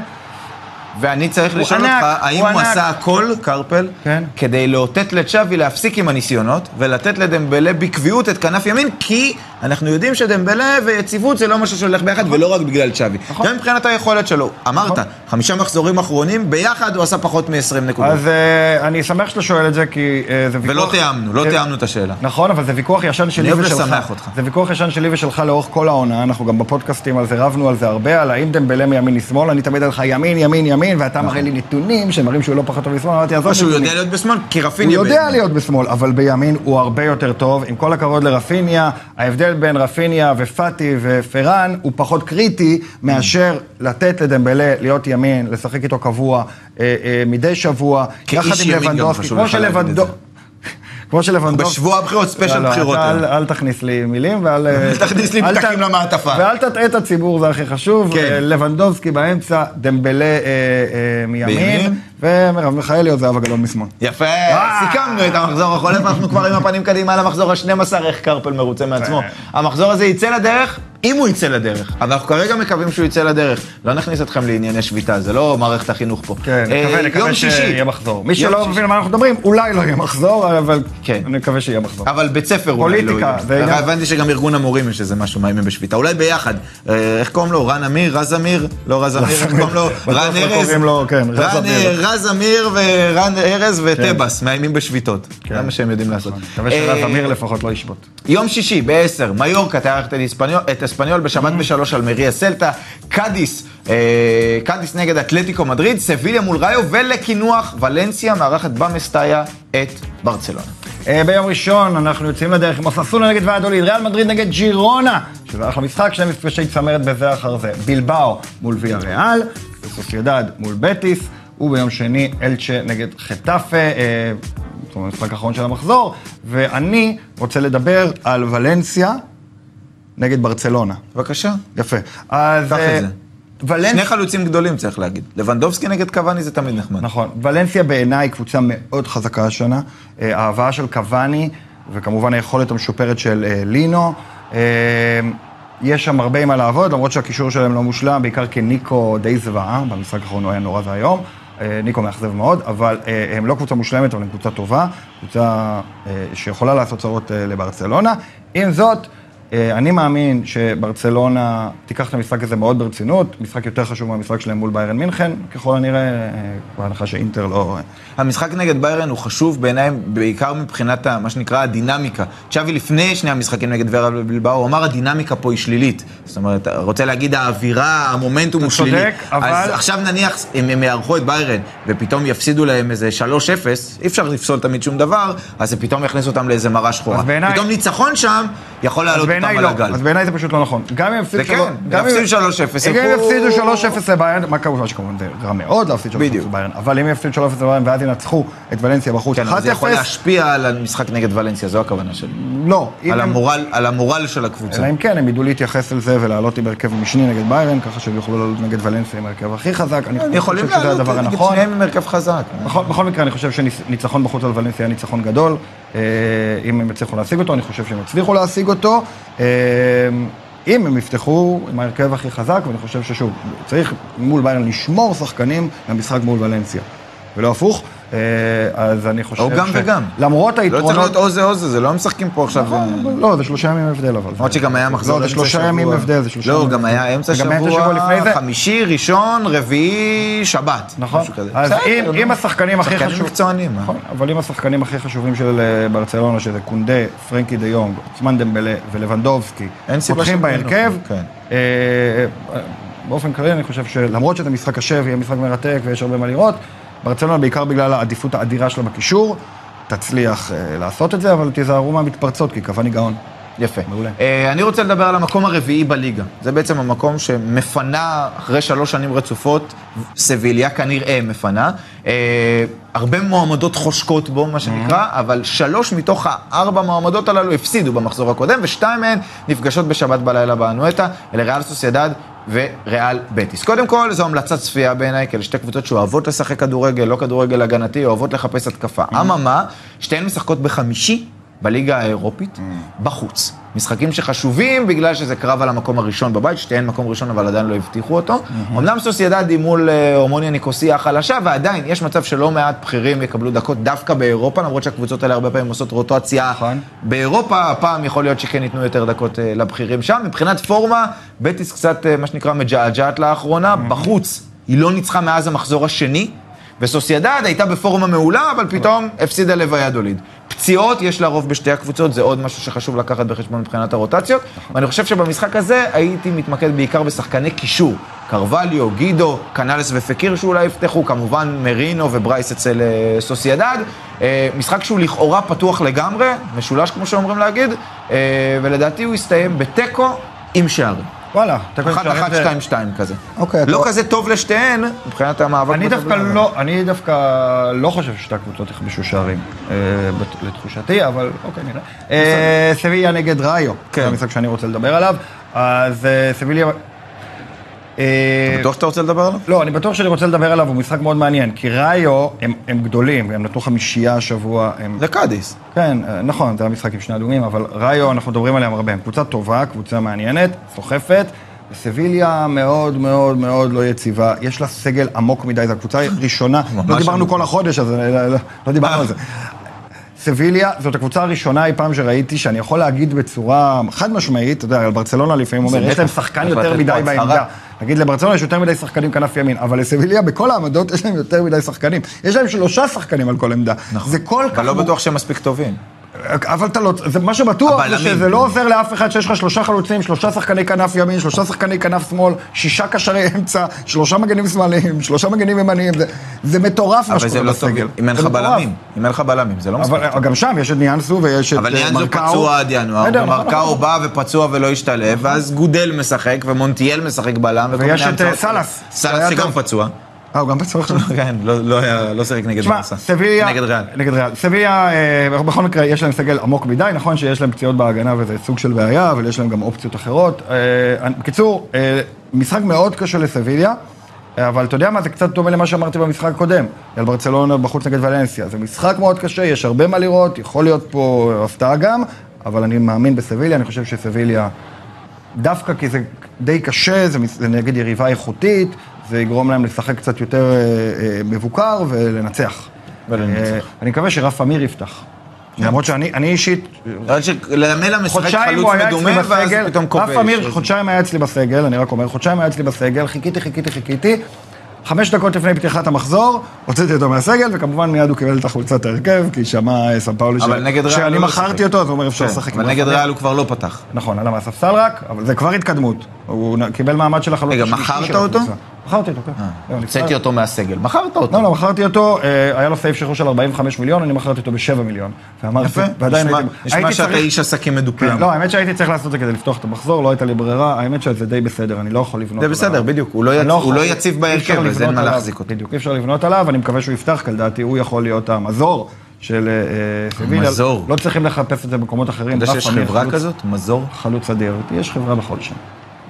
[SPEAKER 1] ואני צריך
[SPEAKER 2] הוא
[SPEAKER 1] לשאול אותך,
[SPEAKER 2] ענק, הוא
[SPEAKER 1] האם הוא
[SPEAKER 2] ענק.
[SPEAKER 1] עשה הכל, קרפל,
[SPEAKER 2] כן.
[SPEAKER 1] כדי לאותת לצ'אבי להפסיק עם הניסיונות, ולתת לדמבלה בקביעות את כנף ימין, כי אנחנו יודעים שדמבלה ויציבות זה לא משהו שהולך ביחד, ולא רק בגלל צ'אבי.
[SPEAKER 2] נכון.
[SPEAKER 1] גם מבחינת היכולת שלו. אמרת,
[SPEAKER 2] נכון.
[SPEAKER 1] חמישה מחזורים אחרונים, ביחד הוא עשה פחות מ-20 נקודות.
[SPEAKER 2] אז אה, אני שמח שאתה שואל את זה, כי אה, זה ויכוח...
[SPEAKER 1] ולא תיאמנו, לא
[SPEAKER 2] זה-
[SPEAKER 1] תיאמנו את השאלה.
[SPEAKER 2] נכון, אבל זה ויכוח ישן שלי
[SPEAKER 1] אני אוהב
[SPEAKER 2] ושלך.
[SPEAKER 1] לשמח אותך.
[SPEAKER 2] זה ויכוח ישן שלי ושלך לאורך כל העונה, אנחנו גם בפודקאסטים על זה רבנו על זה הרבה, על האם דמבלה מימין לשמאל, אני תמיד על לך ימין, ימין, ימין, ואתה מראה לי נתונים שמראים שהוא לא פחות טוב משמאל, אמרתי, עזוב
[SPEAKER 1] נכון. או שהוא
[SPEAKER 2] נתונים.
[SPEAKER 1] יודע להיות בשמאל, כי
[SPEAKER 2] הוא
[SPEAKER 1] רפיניה...
[SPEAKER 2] יודע
[SPEAKER 1] בעצם.
[SPEAKER 2] להיות בשמאל, אבל בימין הוא הרבה יותר טוב. עם כל הכבוד לרפיניה, ההבדל בין רפיניה ופאטי ופרן הוא פחות קריטי מאשר לתת לדמבלה להיות ימין, לשחק איתו קבוע אה, אה, מדי שבוע,
[SPEAKER 1] כאיש
[SPEAKER 2] יחד עם
[SPEAKER 1] ימין גם
[SPEAKER 2] לבנדובסקי.
[SPEAKER 1] חשוב
[SPEAKER 2] כמו
[SPEAKER 1] לך להגיד את
[SPEAKER 2] שלבנדו...
[SPEAKER 1] זה.
[SPEAKER 2] כמו שלבנדובסקי...
[SPEAKER 1] בשבוע הבחירות, ספיישל
[SPEAKER 2] לא, לא,
[SPEAKER 1] בחירות
[SPEAKER 2] אתה
[SPEAKER 1] היום.
[SPEAKER 2] אל אל תכניס לי מילים ואל... אה, אל
[SPEAKER 1] תכניס לי
[SPEAKER 2] ת-
[SPEAKER 1] פתקים למעטפה.
[SPEAKER 2] ואל תטעה את הציבור, זה הכי חשוב.
[SPEAKER 1] כן.
[SPEAKER 2] אה, לבנדובסקי באמצע, דמבלה אה, אה, מימין,
[SPEAKER 1] בימין.
[SPEAKER 2] ומרב מיכאלי או זהבה גלאון משמאל.
[SPEAKER 1] יפה,
[SPEAKER 2] אה.
[SPEAKER 1] סיכמנו את המחזור החולף, אנחנו כבר עם הפנים קדימה למחזור ה-12, איך קרפל מרוצה
[SPEAKER 2] כן.
[SPEAKER 1] מעצמו. המחזור הזה יצא לדרך, אם הוא יצא לדרך. אבל אנחנו כרגע מקווים שהוא יצא לדרך. לא נכניס אתכם לענייני שביתה, זה לא מערכת החינוך פה.
[SPEAKER 2] כן, נקווה,
[SPEAKER 1] אה, יום
[SPEAKER 2] נקווה
[SPEAKER 1] שישי.
[SPEAKER 2] שיהיה מחזור. מי
[SPEAKER 1] יום
[SPEAKER 2] שלא
[SPEAKER 1] שישי.
[SPEAKER 2] מבין על מה אנחנו מדברים, אולי לא יהיה מחזור, אבל
[SPEAKER 1] כן.
[SPEAKER 2] אני מקווה שיהיה מחזור.
[SPEAKER 1] אבל בית ספר אולי לא
[SPEAKER 2] פוליטיקה,
[SPEAKER 1] יהיה.
[SPEAKER 2] זה עניין.
[SPEAKER 1] הבנתי שגם ארגון המורים יש איזה משהו מאיימים בשביתה. אולי ביחד. אה, איך קוראים לו? רן אמיר? רז אמיר? לא רז אמיר, איך קוראים לו?
[SPEAKER 2] בטוח
[SPEAKER 1] רן
[SPEAKER 2] לא
[SPEAKER 1] ארז?
[SPEAKER 2] קוראים לו, כן, רז
[SPEAKER 1] רן,
[SPEAKER 2] אמיר. כן.
[SPEAKER 1] אה, רז אמיר ורן ארז וטבס מאיימים בשביתות. זה מה שהם יודעים לעשות.
[SPEAKER 2] נכון. מקווה
[SPEAKER 1] אה,
[SPEAKER 2] שרז אמיר לפחות לא ישבות.
[SPEAKER 1] יום שישי ב-10, מיורקה תארחת את אספניול- את אספניול,
[SPEAKER 2] Mm-hmm.
[SPEAKER 1] בשבת ב-3 על מריה סלטה, קאדיס, אה, קאדיס נגד אתלטיקו מדריד, סביליה מול ראיו, ולקינוח, ולנסיה מארחת במסטאיה את ברצלונה.
[SPEAKER 2] אה, ביום ראשון אנחנו יוצאים לדרך עם אוססונה נגד ועדוליד, ריאל מדריד נגד ג'ירונה, שזה אחלה משחק, שני מפגשי צמרת בזה אחר זה. בלבאו מול ויה ריאל, וסוסיידד מול בטיס, וביום שני אלצ'ה נגד חטאפה, אה, זאת אומרת, המשחק האחרון של המחזור, ואני רוצה לדבר על ולנסיה נגד ברצלונה.
[SPEAKER 1] בבקשה.
[SPEAKER 2] יפה. אז...
[SPEAKER 1] קח את
[SPEAKER 2] אה,
[SPEAKER 1] זה.
[SPEAKER 2] ולנסיה...
[SPEAKER 1] שני חלוצים גדולים צריך להגיד. לבנדובסקי נגד קוואני זה תמיד נחמד.
[SPEAKER 2] נכון. ולנסיה בעיניי קבוצה מאוד חזקה השנה. אה, ההבאה של קוואני, וכמובן היכולת המשופרת של אה, לינו. אה, יש שם הרבה מה לעבוד, למרות שהקישור שלהם לא מושלם, בעיקר כי ניקו די זוועה, במשחק האחרון הוא היה נורא ואיום. אה, ניקו מאכזב מאוד, אבל אה, הם לא קבוצה מושלמת, אבל הם קבוצה טובה, קבוצה אה, שיכולה לעשות צרות אה, לברצלונה. עם זאת, אה, אני מאמין שברצלונה תיקח את המשחק הזה מאוד ברצינות, משחק יותר חשוב מהמשחק שלהם מול ביירן מינכן, ככל הנראה, אה, בהנחה שאינטר לא...
[SPEAKER 1] המשחק נגד ביירן הוא חשוב בעיניי, בעיקר מבחינת ה- מה שנקרא הדינמיקה. צ'אבי לפני שני המשחקים נגד ורה בלבאו, הוא אמר הדינמיקה פה היא שלילית. זאת אומרת, רוצה להגיד האווירה, המומנטום הוא
[SPEAKER 2] צודק,
[SPEAKER 1] שלילי.
[SPEAKER 2] אבל-
[SPEAKER 1] אז עכשיו נניח אם הם יערכו את ביירן, ופתאום יפסידו להם איזה 3-0, אי אפשר לפסול תמיד שום דבר, אז זה פתאום יכניס אותם לאיזה מרה שחורה.
[SPEAKER 2] אז בעיניי-
[SPEAKER 1] פתאום ניצחון שם יכול
[SPEAKER 2] אז
[SPEAKER 1] להעלות אותם
[SPEAKER 2] בעיניי
[SPEAKER 1] על
[SPEAKER 2] לא,
[SPEAKER 1] הגל.
[SPEAKER 2] אז בעיניי זה פשוט לא נכון. גם אם יפסידו
[SPEAKER 1] זה כן,
[SPEAKER 2] שלוש- גם אם-
[SPEAKER 1] יפסידו 3-0,
[SPEAKER 2] גם אם
[SPEAKER 1] ילכו-
[SPEAKER 2] יפסידו 3-0 לביירן, מה כמובן שכמובן זה רע מאוד להפסיד 3-0
[SPEAKER 1] בדיוק.
[SPEAKER 2] לביירן, אבל אם יפסידו 3-0 לביירן ואז ינצחו את ולנסיה בחוץ 1-0,
[SPEAKER 1] כן, אבל זה יכול להשפיע על המשחק נגד ולנסיה, זו הכוונה שלי.
[SPEAKER 2] לא. אם
[SPEAKER 1] על
[SPEAKER 2] הם-
[SPEAKER 1] המורל- על המורל של הקבוצה.
[SPEAKER 2] אלא אם כן, הם ידעו להתייחס לזה ולעלות עם הרכב משני נגד ביירן, ככה שהם יוכלו לעלות נגד ולנסיה עם הרכב הכי חזק. אני
[SPEAKER 1] הם
[SPEAKER 2] חושב
[SPEAKER 1] יכולים
[SPEAKER 2] שזה
[SPEAKER 1] לעלות
[SPEAKER 2] הדבר
[SPEAKER 1] נגד
[SPEAKER 2] הנכון. לא
[SPEAKER 1] שניהם עם הרכב חזק. נכון.
[SPEAKER 2] בכל, בכל מקרה, אני חושב שניצחון בחוץ על ולנסיה היה ניצחון גדול. אה, אם הם יצליחו להשיג אותו, אני חושב שהם יצליחו להשיג אותו. אה, אם הם יפתחו עם ההרכב הכי חזק, ואני חושב ששוב, צריך מול ביירן לשמור שחקנים למשחק מול ולנסיה, ולא הפוך. אה, אז אני חושב
[SPEAKER 1] או גם
[SPEAKER 2] ש-
[SPEAKER 1] וגם.
[SPEAKER 2] למרות
[SPEAKER 1] לא צריך
[SPEAKER 2] היתרונות...
[SPEAKER 1] להיות או זה או זה, זה לא משחקים פה עכשיו. אה,
[SPEAKER 2] לא, זה שלושה ימים הבדל, אבל...
[SPEAKER 1] למרות שגם היה מחזור
[SPEAKER 2] לא, זה
[SPEAKER 1] אמצע
[SPEAKER 2] שלושה
[SPEAKER 1] שבוע.
[SPEAKER 2] ימים הבדל, זה שלושה
[SPEAKER 1] לא,
[SPEAKER 2] ימים
[SPEAKER 1] גם
[SPEAKER 2] הבדל.
[SPEAKER 1] היה אמצע
[SPEAKER 2] וגם היה את השבוע לפני זה.
[SPEAKER 1] שבוע, חמישי, ראשון, רביעי, שבת.
[SPEAKER 2] נכון.
[SPEAKER 1] משהו כזה.
[SPEAKER 2] אז
[SPEAKER 1] בסדר,
[SPEAKER 2] אם-
[SPEAKER 1] נו.
[SPEAKER 2] אם השחקנים הכי
[SPEAKER 1] שחקנים
[SPEAKER 2] חשוב-
[SPEAKER 1] מקצוענים, אה.
[SPEAKER 2] נכון, אבל אם השחקנים הכי חשובים של אה, ברצלונה, שזה קונדה, פרנקי דה יונג, עוצמן דמבלה ולבנדובסקי,
[SPEAKER 1] אין סיבה
[SPEAKER 2] פותחים
[SPEAKER 1] שהם לא
[SPEAKER 2] בהרכב,
[SPEAKER 1] ינוחו, כן.
[SPEAKER 2] אה, אה, באופן כללי אני חושב שלמרות שזה משחק קשה ויהיה משחק מרתק ויש הרבה מה לראות, ברצלונה בעיקר בגלל העדיפות האדירה שלה בקישור, תצליח אה, לעשות את זה, אבל תיזהרו מהמתפרצות, כי קוואני גאון.
[SPEAKER 1] יפה.
[SPEAKER 2] מעולה.
[SPEAKER 1] אה, אני רוצה לדבר על המקום הרביעי בליגה. זה בעצם המקום שמפנה, אחרי שלוש שנים רצופות, סביליה כנראה מפנה. אה, הרבה מועמדות חושקות בו, מה שנקרא, אבל שלוש מתוך הארבע מועמדות הללו הפסידו במחזור הקודם, ושתיים מהן נפגשות בשבת בלילה באנואטה, אלה ריאל סוסיידד וריאל בטיס. קודם כל, זו המלצת צפייה בעיניי, כי אלה שתי קבוצות שאוהבות לשחק כדורגל, לא כדורגל הגנתי, אוהבות לחפש התקפה. אממה, שתיהן משחקות בחמישי. בליגה האירופית, בחוץ. משחקים שחשובים בגלל שזה קרב על המקום הראשון בבית, שתיהן מקום ראשון אבל עדיין לא הבטיחו אותו. אמנם סוסיידד היא מול אה, הומוניה ניקוסיה החלשה, ועדיין יש מצב שלא מעט בכירים יקבלו דקות דווקא באירופה, למרות שהקבוצות האלה הרבה פעמים עושות רוטציה
[SPEAKER 2] נכון.
[SPEAKER 1] באירופה, הפעם יכול להיות שכן ייתנו יותר דקות אה, לבכירים שם. מבחינת פורמה, בטיס קצת, אה, מה שנקרא, מג'עג'עת לאחרונה, בחוץ. היא לא ניצחה מאז המחזור השני, וסוסיידד הייתה בפורמה מעולה, אבל פתאום הפסידה לוויאדוליד. פציעות יש לרוב בשתי הקבוצות, זה עוד משהו שחשוב לקחת בחשבון מבחינת הרוטציות. ואני חושב שבמשחק הזה הייתי מתמקד בעיקר בשחקני קישור. קרווליו, גידו, קנלס ופקיר שאולי יפתחו, כמובן מרינו וברייס אצל אה, סוסיידד. אה, משחק שהוא לכאורה פתוח לגמרי, משולש כמו שאומרים להגיד, אה, ולדעתי הוא יסתיים בתיקו עם שערים.
[SPEAKER 2] וואלה. תיקו עם
[SPEAKER 1] אחת,
[SPEAKER 2] שתיים,
[SPEAKER 1] אחת,
[SPEAKER 2] זה-
[SPEAKER 1] שתיים, שתיים כזה.
[SPEAKER 2] אוקיי,
[SPEAKER 1] לא
[SPEAKER 2] אתה-
[SPEAKER 1] כזה טוב לשתיהן, מבחינת המאבק.
[SPEAKER 2] אני דווקא
[SPEAKER 1] בטבלה, אבל-
[SPEAKER 2] לא, אני דווקא לא חושב ששתי הקבוצות יכבשו שערים, אה, בת- לתחושתי, אבל אוקיי, נראה. אה, סביליה נגד ראיו,
[SPEAKER 1] כן.
[SPEAKER 2] זה המשחק שאני רוצה לדבר עליו, אז אה, סביליה... אה,
[SPEAKER 1] בטוח שאתה רוצה לדבר עליו?
[SPEAKER 2] לא, אני בטוח שאני רוצה לדבר עליו, הוא משחק מאוד מעניין, כי ראיו הם- הם גדולים, הם נתנו חמישייה השבוע, הם
[SPEAKER 1] זה קאדיס.
[SPEAKER 2] כן, אה, נכון, זה היה משחק עם שני אדומים, אבל ראיו, אנחנו מדברים עליהם הרבה. הם קבוצה טובה, קבוצה מעניינת, סוחפת. סביליה מאוד מאוד מאוד לא יציבה, יש לה סגל עמוק מדי, זו הקבוצה הראשונה, לא
[SPEAKER 1] ממש
[SPEAKER 2] דיברנו
[SPEAKER 1] עמוק.
[SPEAKER 2] כל החודש, אז אה, לא- לא- לא דיברנו על זה. סביליה, זאת הקבוצה הראשונה אי פעם שראיתי, שאני יכול להגיד בצורה חד משמעית, אתה יודע, על ברצלונה לפעמים
[SPEAKER 1] זה
[SPEAKER 2] אומר, יש
[SPEAKER 1] בטח.
[SPEAKER 2] להם שחקן
[SPEAKER 1] צריך
[SPEAKER 2] יותר
[SPEAKER 1] לתת
[SPEAKER 2] מדי
[SPEAKER 1] פה הצהרה.
[SPEAKER 2] בעמדה. נגיד לברצלונה יש יותר מדי שחקנים כנף ימין, אבל לסביליה בכל העמדות יש להם יותר מדי שחקנים. יש להם שלושה שחקנים על כל עמדה. זה כל כך...
[SPEAKER 1] אבל לא
[SPEAKER 2] מור-
[SPEAKER 1] בטוח שהם מספיק טובים.
[SPEAKER 2] אבל אתה לא, זה מה שבטוח זה
[SPEAKER 1] הבלמים.
[SPEAKER 2] שזה לא עוזר לאף אחד שיש לך שלושה חלוצים, שלושה שחקני כנף ימין, שלושה שחקני כנף שמאל, שישה קשרי אמצע, שלושה מגנים שמאליים, שלושה מגנים ימניים, זה, זה מטורף מה
[SPEAKER 1] אבל זה
[SPEAKER 2] שקורה
[SPEAKER 1] לא טוב
[SPEAKER 2] בסגל.
[SPEAKER 1] אם אין
[SPEAKER 2] זה
[SPEAKER 1] לך
[SPEAKER 2] מטורף.
[SPEAKER 1] בלמים. אם אין לך בלמים, זה לא מספיק.
[SPEAKER 2] אבל אה, גם שם יש את ניאנסו ויש את אה,
[SPEAKER 1] אבל
[SPEAKER 2] מרקאו.
[SPEAKER 1] ניאנזו פצוע עד ינואר,
[SPEAKER 2] בסדר, נכון,
[SPEAKER 1] ומרקאו
[SPEAKER 2] נכון.
[SPEAKER 1] בא ופצוע ולא השתלב, ואז גודל משחק, ומונטיאל משחק בלם, וכל מיני
[SPEAKER 2] ויש את, אה,
[SPEAKER 1] המצאות.
[SPEAKER 2] סלאס,
[SPEAKER 1] סלאס
[SPEAKER 2] שהיה
[SPEAKER 1] שגם
[SPEAKER 2] טוב.
[SPEAKER 1] פצוע.
[SPEAKER 2] אה, הוא גם פצוע עכשיו.
[SPEAKER 1] כן, לא- לא היה- לא שיחק נגד
[SPEAKER 2] תשמע,
[SPEAKER 1] ברסה.
[SPEAKER 2] סביליה,
[SPEAKER 1] נגד ריאל.
[SPEAKER 2] נגד ריאל. סביליה, אה, בכל מקרה, יש להם סגל עמוק מדי, נכון שיש להם פציעות בהגנה וזה סוג של בעיה, אבל יש להם גם אופציות אחרות. אה, אני- בקיצור, אה, משחק מאוד קשה לסביליה, אה, אבל אתה יודע מה, זה קצת דומה למה שאמרתי במשחק הקודם, על ברצלונה בחוץ נגד ולנסיה. זה משחק מאוד קשה, יש הרבה מה לראות, יכול להיות פה הפתעה גם, אבל אני מאמין בסביליה, אני חושב שסביליה... דווקא כי זה די קשה, זה, מס- זה נגד יריבה איכותית, זה יגרום להם לשחק קצת יותר אה, אה, מבוקר ולנצח.
[SPEAKER 1] ולנצח.
[SPEAKER 2] אה, אני מקווה שרף אמיר יפתח. למרות שאני אני אישית,
[SPEAKER 1] רק שלמלה משחק
[SPEAKER 2] חודשיים
[SPEAKER 1] חלוץ
[SPEAKER 2] הוא היה
[SPEAKER 1] מדומה,
[SPEAKER 2] אצלי
[SPEAKER 1] ואז
[SPEAKER 2] בסגל,
[SPEAKER 1] פתאום כובש.
[SPEAKER 2] רף אמיר חודשיים היה אצלי בסגל, אני רק אומר, חודשיים היה אצלי בסגל, חיכיתי, חיכיתי, חיכיתי. חמש דקות לפני פתיחת המחזור, הוצאתי אותו מהסגל, וכמובן מיד הוא קיבל את החולצת ההרכב, כי שמע אה, סמפאולי ש-
[SPEAKER 1] אבל נגד ריאל הוא
[SPEAKER 2] שאני
[SPEAKER 1] לא
[SPEAKER 2] מכרתי
[SPEAKER 1] שיחק.
[SPEAKER 2] אותו, אז הוא אומר, אפשר
[SPEAKER 1] כן,
[SPEAKER 2] לשחק. עם
[SPEAKER 1] אבל
[SPEAKER 2] רף
[SPEAKER 1] נגד
[SPEAKER 2] אמיר."
[SPEAKER 1] ריאל הוא כבר לא פתח.
[SPEAKER 2] נכון, עלה מהספסל רק, אבל זה כבר התקדמות. הוא נ- קיבל מעמד של החלוץ
[SPEAKER 1] רגע,
[SPEAKER 2] השלישי
[SPEAKER 1] מכרת
[SPEAKER 2] של הקבוצה.
[SPEAKER 1] אותו? אה,
[SPEAKER 2] מכרתי אותו, כן. לא,
[SPEAKER 1] הוצאתי
[SPEAKER 2] נפטר.
[SPEAKER 1] אותו מהסגל, מכרת
[SPEAKER 2] לא,
[SPEAKER 1] אותו.
[SPEAKER 2] לא, מכרתי אותו, אה, היה לו סעיף שחרור של 45 מיליון, אני מכרתי אותו ב-7 מיליון. ואמרתי,
[SPEAKER 1] יפה,
[SPEAKER 2] ועדיין
[SPEAKER 1] נשמע-
[SPEAKER 2] הייתי...
[SPEAKER 1] נשמע
[SPEAKER 2] הייתי
[SPEAKER 1] שאתה
[SPEAKER 2] צריך-
[SPEAKER 1] איש עסקים
[SPEAKER 2] כן,
[SPEAKER 1] מדופלם.
[SPEAKER 2] לא, האמת שהייתי צריך לעשות את זה כדי לפתוח את המחזור, לא הייתה לי ברירה, האמת שזה די בסדר, אני לא יכול לבנות
[SPEAKER 1] זה
[SPEAKER 2] עליו.
[SPEAKER 1] בסדר, בדיוק, הוא לא
[SPEAKER 2] אני
[SPEAKER 1] יצ- הוא
[SPEAKER 2] יכול-
[SPEAKER 1] לא יציב
[SPEAKER 2] אי
[SPEAKER 1] בהרכב,
[SPEAKER 2] אפשר
[SPEAKER 1] אז אין
[SPEAKER 2] לבנות
[SPEAKER 1] מה
[SPEAKER 2] עליו.
[SPEAKER 1] להחזיק אותו.
[SPEAKER 2] בדיוק, אי אפשר לבנות עליו, אני מקווה שהוא יפתח, כי לדעתי הוא יכול להיות המזור של אה, אה, סביליה.
[SPEAKER 1] המזור.
[SPEAKER 2] לא צריכים לחפש את זה במקומות אחרים.
[SPEAKER 1] אתה יודע
[SPEAKER 2] רף
[SPEAKER 1] שיש
[SPEAKER 2] אמיר,
[SPEAKER 1] חברה
[SPEAKER 2] חלוץ-
[SPEAKER 1] כזאת? מזור?
[SPEAKER 2] חלוץ אדיר, יש חברה בכל שם.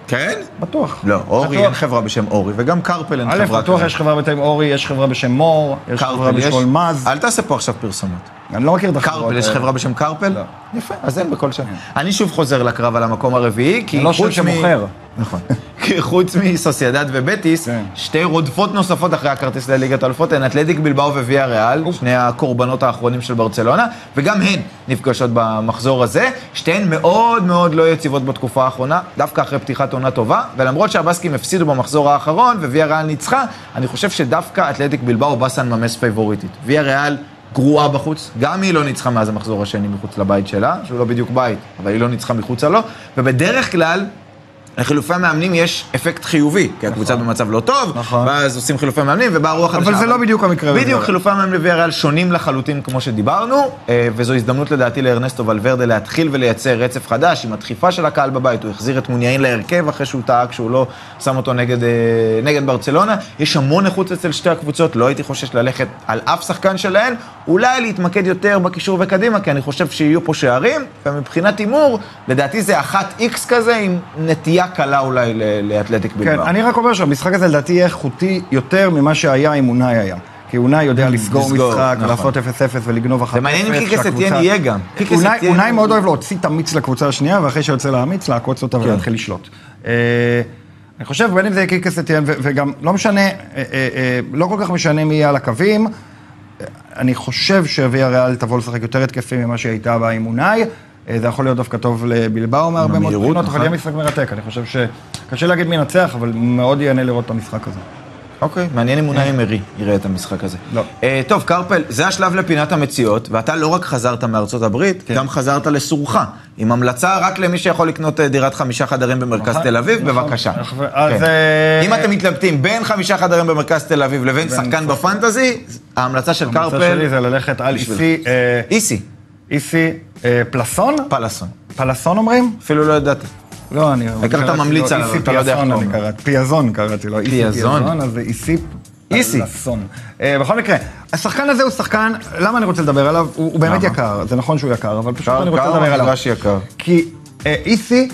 [SPEAKER 1] כן?
[SPEAKER 2] בטוח.
[SPEAKER 1] לא, אורי,
[SPEAKER 2] בטוח.
[SPEAKER 1] אין חברה בשם אורי, וגם קרפל אין
[SPEAKER 2] א',
[SPEAKER 1] חברה
[SPEAKER 2] בטוח
[SPEAKER 1] כזאת.
[SPEAKER 2] יש חברה בשם אורי, יש חברה בשם מור, יש חברה
[SPEAKER 1] קרפל יש?
[SPEAKER 2] בשם מז.
[SPEAKER 1] אל תעשה פה עכשיו פרסומות.
[SPEAKER 2] אני לא מכיר את החברות
[SPEAKER 1] קרפל, יש
[SPEAKER 2] האלה.
[SPEAKER 1] חברה בשם קרפל?
[SPEAKER 2] לא.
[SPEAKER 1] יפה, אז אין בכל שנה. אני שוב חוזר לקרב על המקום הרביעי, כי
[SPEAKER 2] אני לא חושב
[SPEAKER 1] חוץ מ...
[SPEAKER 2] שמוכר.
[SPEAKER 1] נכון. כי חוץ מסוסיידד ובטיס,
[SPEAKER 2] כן.
[SPEAKER 1] שתי רודפות נוספות אחרי הכרטיס לליגת האלופות הן אתלטיק בלבאו וויה ריאל, שני הקורבנות האחרונים של ברצלונה, וגם הן נפגשות במחזור הזה. שתיהן מאוד מאוד לא יציבות בתקופה האחרונה, דווקא אחרי פתיחת עונה טובה, ולמרות שהבסקים הפסידו במחזור האחרון וויה ריאל ניצחה, אני חושב שדווקא אתלטיק בלבאו בסן ממס פייבוריטית. ויה ריאל גרועה בחוץ, גם היא לא ניצחה מאז המחזור השני מחוץ לבית שלה, שהוא לא בדיוק בית, אבל היא לא ניצחה מחוצה לו, ובדרך כלל... לחילופי המאמנים יש אפקט חיובי, כי הקבוצה במצב לא טוב,
[SPEAKER 2] נכון.
[SPEAKER 1] ואז עושים חילופי מאמנים ובאה רוח חדשה.
[SPEAKER 2] אבל זה לא בדיוק המקרה.
[SPEAKER 1] בדיוק,
[SPEAKER 2] בויארל.
[SPEAKER 1] חילופי המאמנים לוויאריאל שונים לחלוטין כמו שדיברנו, אה, וזו הזדמנות לדעתי לארנסטו ולוורדה להתחיל ולייצר רצף חדש עם הדחיפה של הקהל בבית, הוא החזיר את מוניאין להרכב אחרי שהוא טעה כשהוא לא שם אותו נגד, אה, נגד ברצלונה. יש המון איכות אצל שתי הקבוצות, לא הייתי חושש ללכת על אף שחקן שלהן, אולי להתמקד יותר בקישור וקדימה, כי אני חושב שיהיו פה שערים, ומבחינת הימור, לדעתי זה אחת איקס כזה עם נטייה קלה אולי ל- לאתלטיק בלבד.
[SPEAKER 2] כן, אני רק אומר שהמשחק הזה לדעתי יהיה איכותי יותר ממה שהיה אם אונאי היה. כי אונאי יודע לסגור
[SPEAKER 1] Mm, לסגור,
[SPEAKER 2] משחק,
[SPEAKER 1] נכון.
[SPEAKER 2] לעשות 0-0 ולגנוב אחת.
[SPEAKER 1] זה מעניין אם
[SPEAKER 2] אפס,
[SPEAKER 1] קיקס
[SPEAKER 2] שהקבוצה-
[SPEAKER 1] אתיין יהיה גם. קיקס
[SPEAKER 2] אונאי-
[SPEAKER 1] אתיין
[SPEAKER 2] אונאי
[SPEAKER 1] הוא-
[SPEAKER 2] מאוד אוהב להוציא את המיץ לקבוצה השנייה, ואחרי שיוצא להמיץ, לעקוץ
[SPEAKER 1] כן.
[SPEAKER 2] אותה ולהתחיל לשלוט. אה, אני חושב, בין אם זה יהיה קיקס אתיין, ו- וגם לא משנה, אה, אה, אה, לא כל כך משנה מי יהיה על הקווים. אני חושב שוויה ריאל תבוא לשחק יותר התקפי ממה שהיא הייתה בה עם אונאי. אה, זה יכול להיות דווקא טוב לבלבאו מהרבה מאוד
[SPEAKER 1] המהירות,
[SPEAKER 2] בחינות, אבל
[SPEAKER 1] נכון.
[SPEAKER 2] יהיה משחק מרתק. אני חושב שקשה להגיד מי ינצח, אבל מאוד ייהנה לראות את המשחק הזה.
[SPEAKER 1] אוקיי, מעניין אם אונאי אמרי יראה את המשחק הזה.
[SPEAKER 2] אה. לא.
[SPEAKER 1] אה, טוב, קרפל, זה השלב לפינת המציאות, ואתה לא רק חזרת מארצות הברית,
[SPEAKER 2] כן.
[SPEAKER 1] גם חזרת לסורך, עם המלצה רק למי שיכול לקנות אה, דירת חמישה חדרים במרכז
[SPEAKER 2] נכון,
[SPEAKER 1] תל אביב,
[SPEAKER 2] נכון.
[SPEAKER 1] בבקשה.
[SPEAKER 2] נכון, אז,
[SPEAKER 1] כן.
[SPEAKER 2] אה,
[SPEAKER 1] אם אתם מתלבטים בין חמישה חדרים במרכז תל אביב לבין שחקן בפנטזי, ההמלצה של
[SPEAKER 2] ההמלצה שלי
[SPEAKER 1] קרפל,
[SPEAKER 2] זה ללכת על
[SPEAKER 1] בשביל-
[SPEAKER 2] איסי, אה,
[SPEAKER 1] איסי,
[SPEAKER 2] איסי אה, פלסון?
[SPEAKER 1] פלאסון.
[SPEAKER 2] פלסון אומרים?
[SPEAKER 1] אפילו לא ידעתי.
[SPEAKER 2] לא, אני...
[SPEAKER 1] העיקר אתה
[SPEAKER 2] קראתי לו
[SPEAKER 1] ממליץ עליו,
[SPEAKER 2] איסי
[SPEAKER 1] אתה לא יודע איך
[SPEAKER 2] פיאזון
[SPEAKER 1] קוראים
[SPEAKER 2] אני
[SPEAKER 1] לו.
[SPEAKER 2] קראתי, פיאזון קראתי לו, איסי
[SPEAKER 1] פיאזון?
[SPEAKER 2] פיאזון, אז זה איסי
[SPEAKER 1] איסי.
[SPEAKER 2] פלסון. אה, בכל מקרה, השחקן הזה הוא שחקן, למה אני רוצה לדבר עליו? הוא הוא באמת
[SPEAKER 1] למה?
[SPEAKER 2] יקר, זה נכון שהוא יקר, אבל פשוט
[SPEAKER 1] יקר,
[SPEAKER 2] אני רוצה
[SPEAKER 1] יקר,
[SPEAKER 2] לדבר
[SPEAKER 1] אבל
[SPEAKER 2] עליו.
[SPEAKER 1] מגרש יקר.
[SPEAKER 2] כי אה, איסי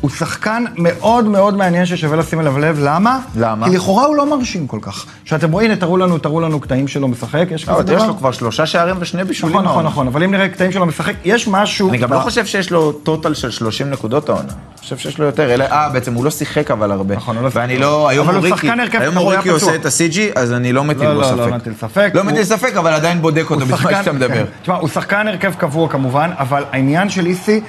[SPEAKER 2] הוא שחקן מאוד מאוד מעניין ששווה לשים אליו לב, למה?
[SPEAKER 1] למה?
[SPEAKER 2] כי לכאורה הוא לא מרשים כל כך. שאתם רואים, הנה, תראו לנו, תראו לנו קטעים שלו משחק, יש
[SPEAKER 1] לא,
[SPEAKER 2] כזה
[SPEAKER 1] אבל יש
[SPEAKER 2] דבר?
[SPEAKER 1] לו כבר שלושה שערים ושני בישולים.
[SPEAKER 2] נכון, נכון,
[SPEAKER 1] העונה.
[SPEAKER 2] נכון, אבל אם נראה קטעים שלו משחק, יש משהו...
[SPEAKER 1] אני גם לא
[SPEAKER 2] ב-
[SPEAKER 1] חושב שיש לו טוטל של 30 נקודות העונה. אני חושב שיש לו יותר. אלא- אה, בעצם הוא לא שיחק אבל הרבה.
[SPEAKER 2] נכון, הוא לא שיחק.
[SPEAKER 1] ואני לא... היום
[SPEAKER 2] אבל הוא
[SPEAKER 1] אוריקי-
[SPEAKER 2] שחקן הרכב,
[SPEAKER 1] היום
[SPEAKER 2] אבל הוא
[SPEAKER 1] אוריקי
[SPEAKER 2] היה
[SPEAKER 1] עושה
[SPEAKER 2] פצוע.
[SPEAKER 1] את ה-CG, אז אני לא מטיל
[SPEAKER 2] לא,
[SPEAKER 1] בו
[SPEAKER 2] לא,
[SPEAKER 1] ספק.
[SPEAKER 2] לא מטיל ספק.
[SPEAKER 1] לא
[SPEAKER 2] הוא-
[SPEAKER 1] מטיל ספק, אבל עדיין בודק אותו
[SPEAKER 2] הוא
[SPEAKER 1] בזמן לא, שאתה מדבר.
[SPEAKER 2] כן. תשמע, הוא שחקן הרכב קבוע כמובן, אבל העניין של איסי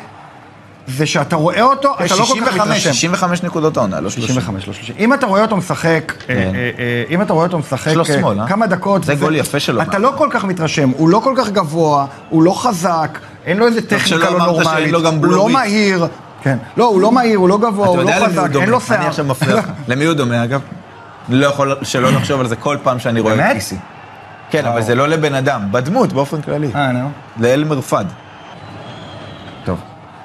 [SPEAKER 2] זה שאתה רואה אותו, אתה לא כל כך
[SPEAKER 1] 65,
[SPEAKER 2] מתרשם.
[SPEAKER 1] 65 נקודות העונה, לא 30.
[SPEAKER 2] 65, לא 30. אם אתה רואה אותו משחק, אה, אה, אה, אם אתה רואה אותו משחק
[SPEAKER 1] יש לו
[SPEAKER 2] אה,
[SPEAKER 1] כן. שמאל, אה?
[SPEAKER 2] כמה דקות,
[SPEAKER 1] זה גול יפה שלו, מה?
[SPEAKER 2] אתה לא כל כך מתרשם, הוא לא כל כך גבוה, הוא לא חזק, אין לו איזה
[SPEAKER 1] שלא
[SPEAKER 2] טכניקה לא
[SPEAKER 1] אמרת שאין
[SPEAKER 2] נורמלית,
[SPEAKER 1] לו גם
[SPEAKER 2] הוא לא
[SPEAKER 1] בלורית.
[SPEAKER 2] מהיר, כן, לא, הוא לא מהיר, הוא לא גבוה,
[SPEAKER 1] אתה
[SPEAKER 2] הוא לא
[SPEAKER 1] יודע למי הוא
[SPEAKER 2] חזק, אין
[SPEAKER 1] דומה?
[SPEAKER 2] לו שיער.
[SPEAKER 1] אני עכשיו מפריע לך. למי הוא דומה, אגב? אני לא יכול שלא לחשוב על זה כל פעם שאני רואה את
[SPEAKER 2] באמת?
[SPEAKER 1] איסי. כן,
[SPEAKER 2] וואו.
[SPEAKER 1] אבל זה לא לבן אדם, בדמות, באופן כללי.
[SPEAKER 2] אה, נו.
[SPEAKER 1] לאלמר פאד.
[SPEAKER 2] טוב.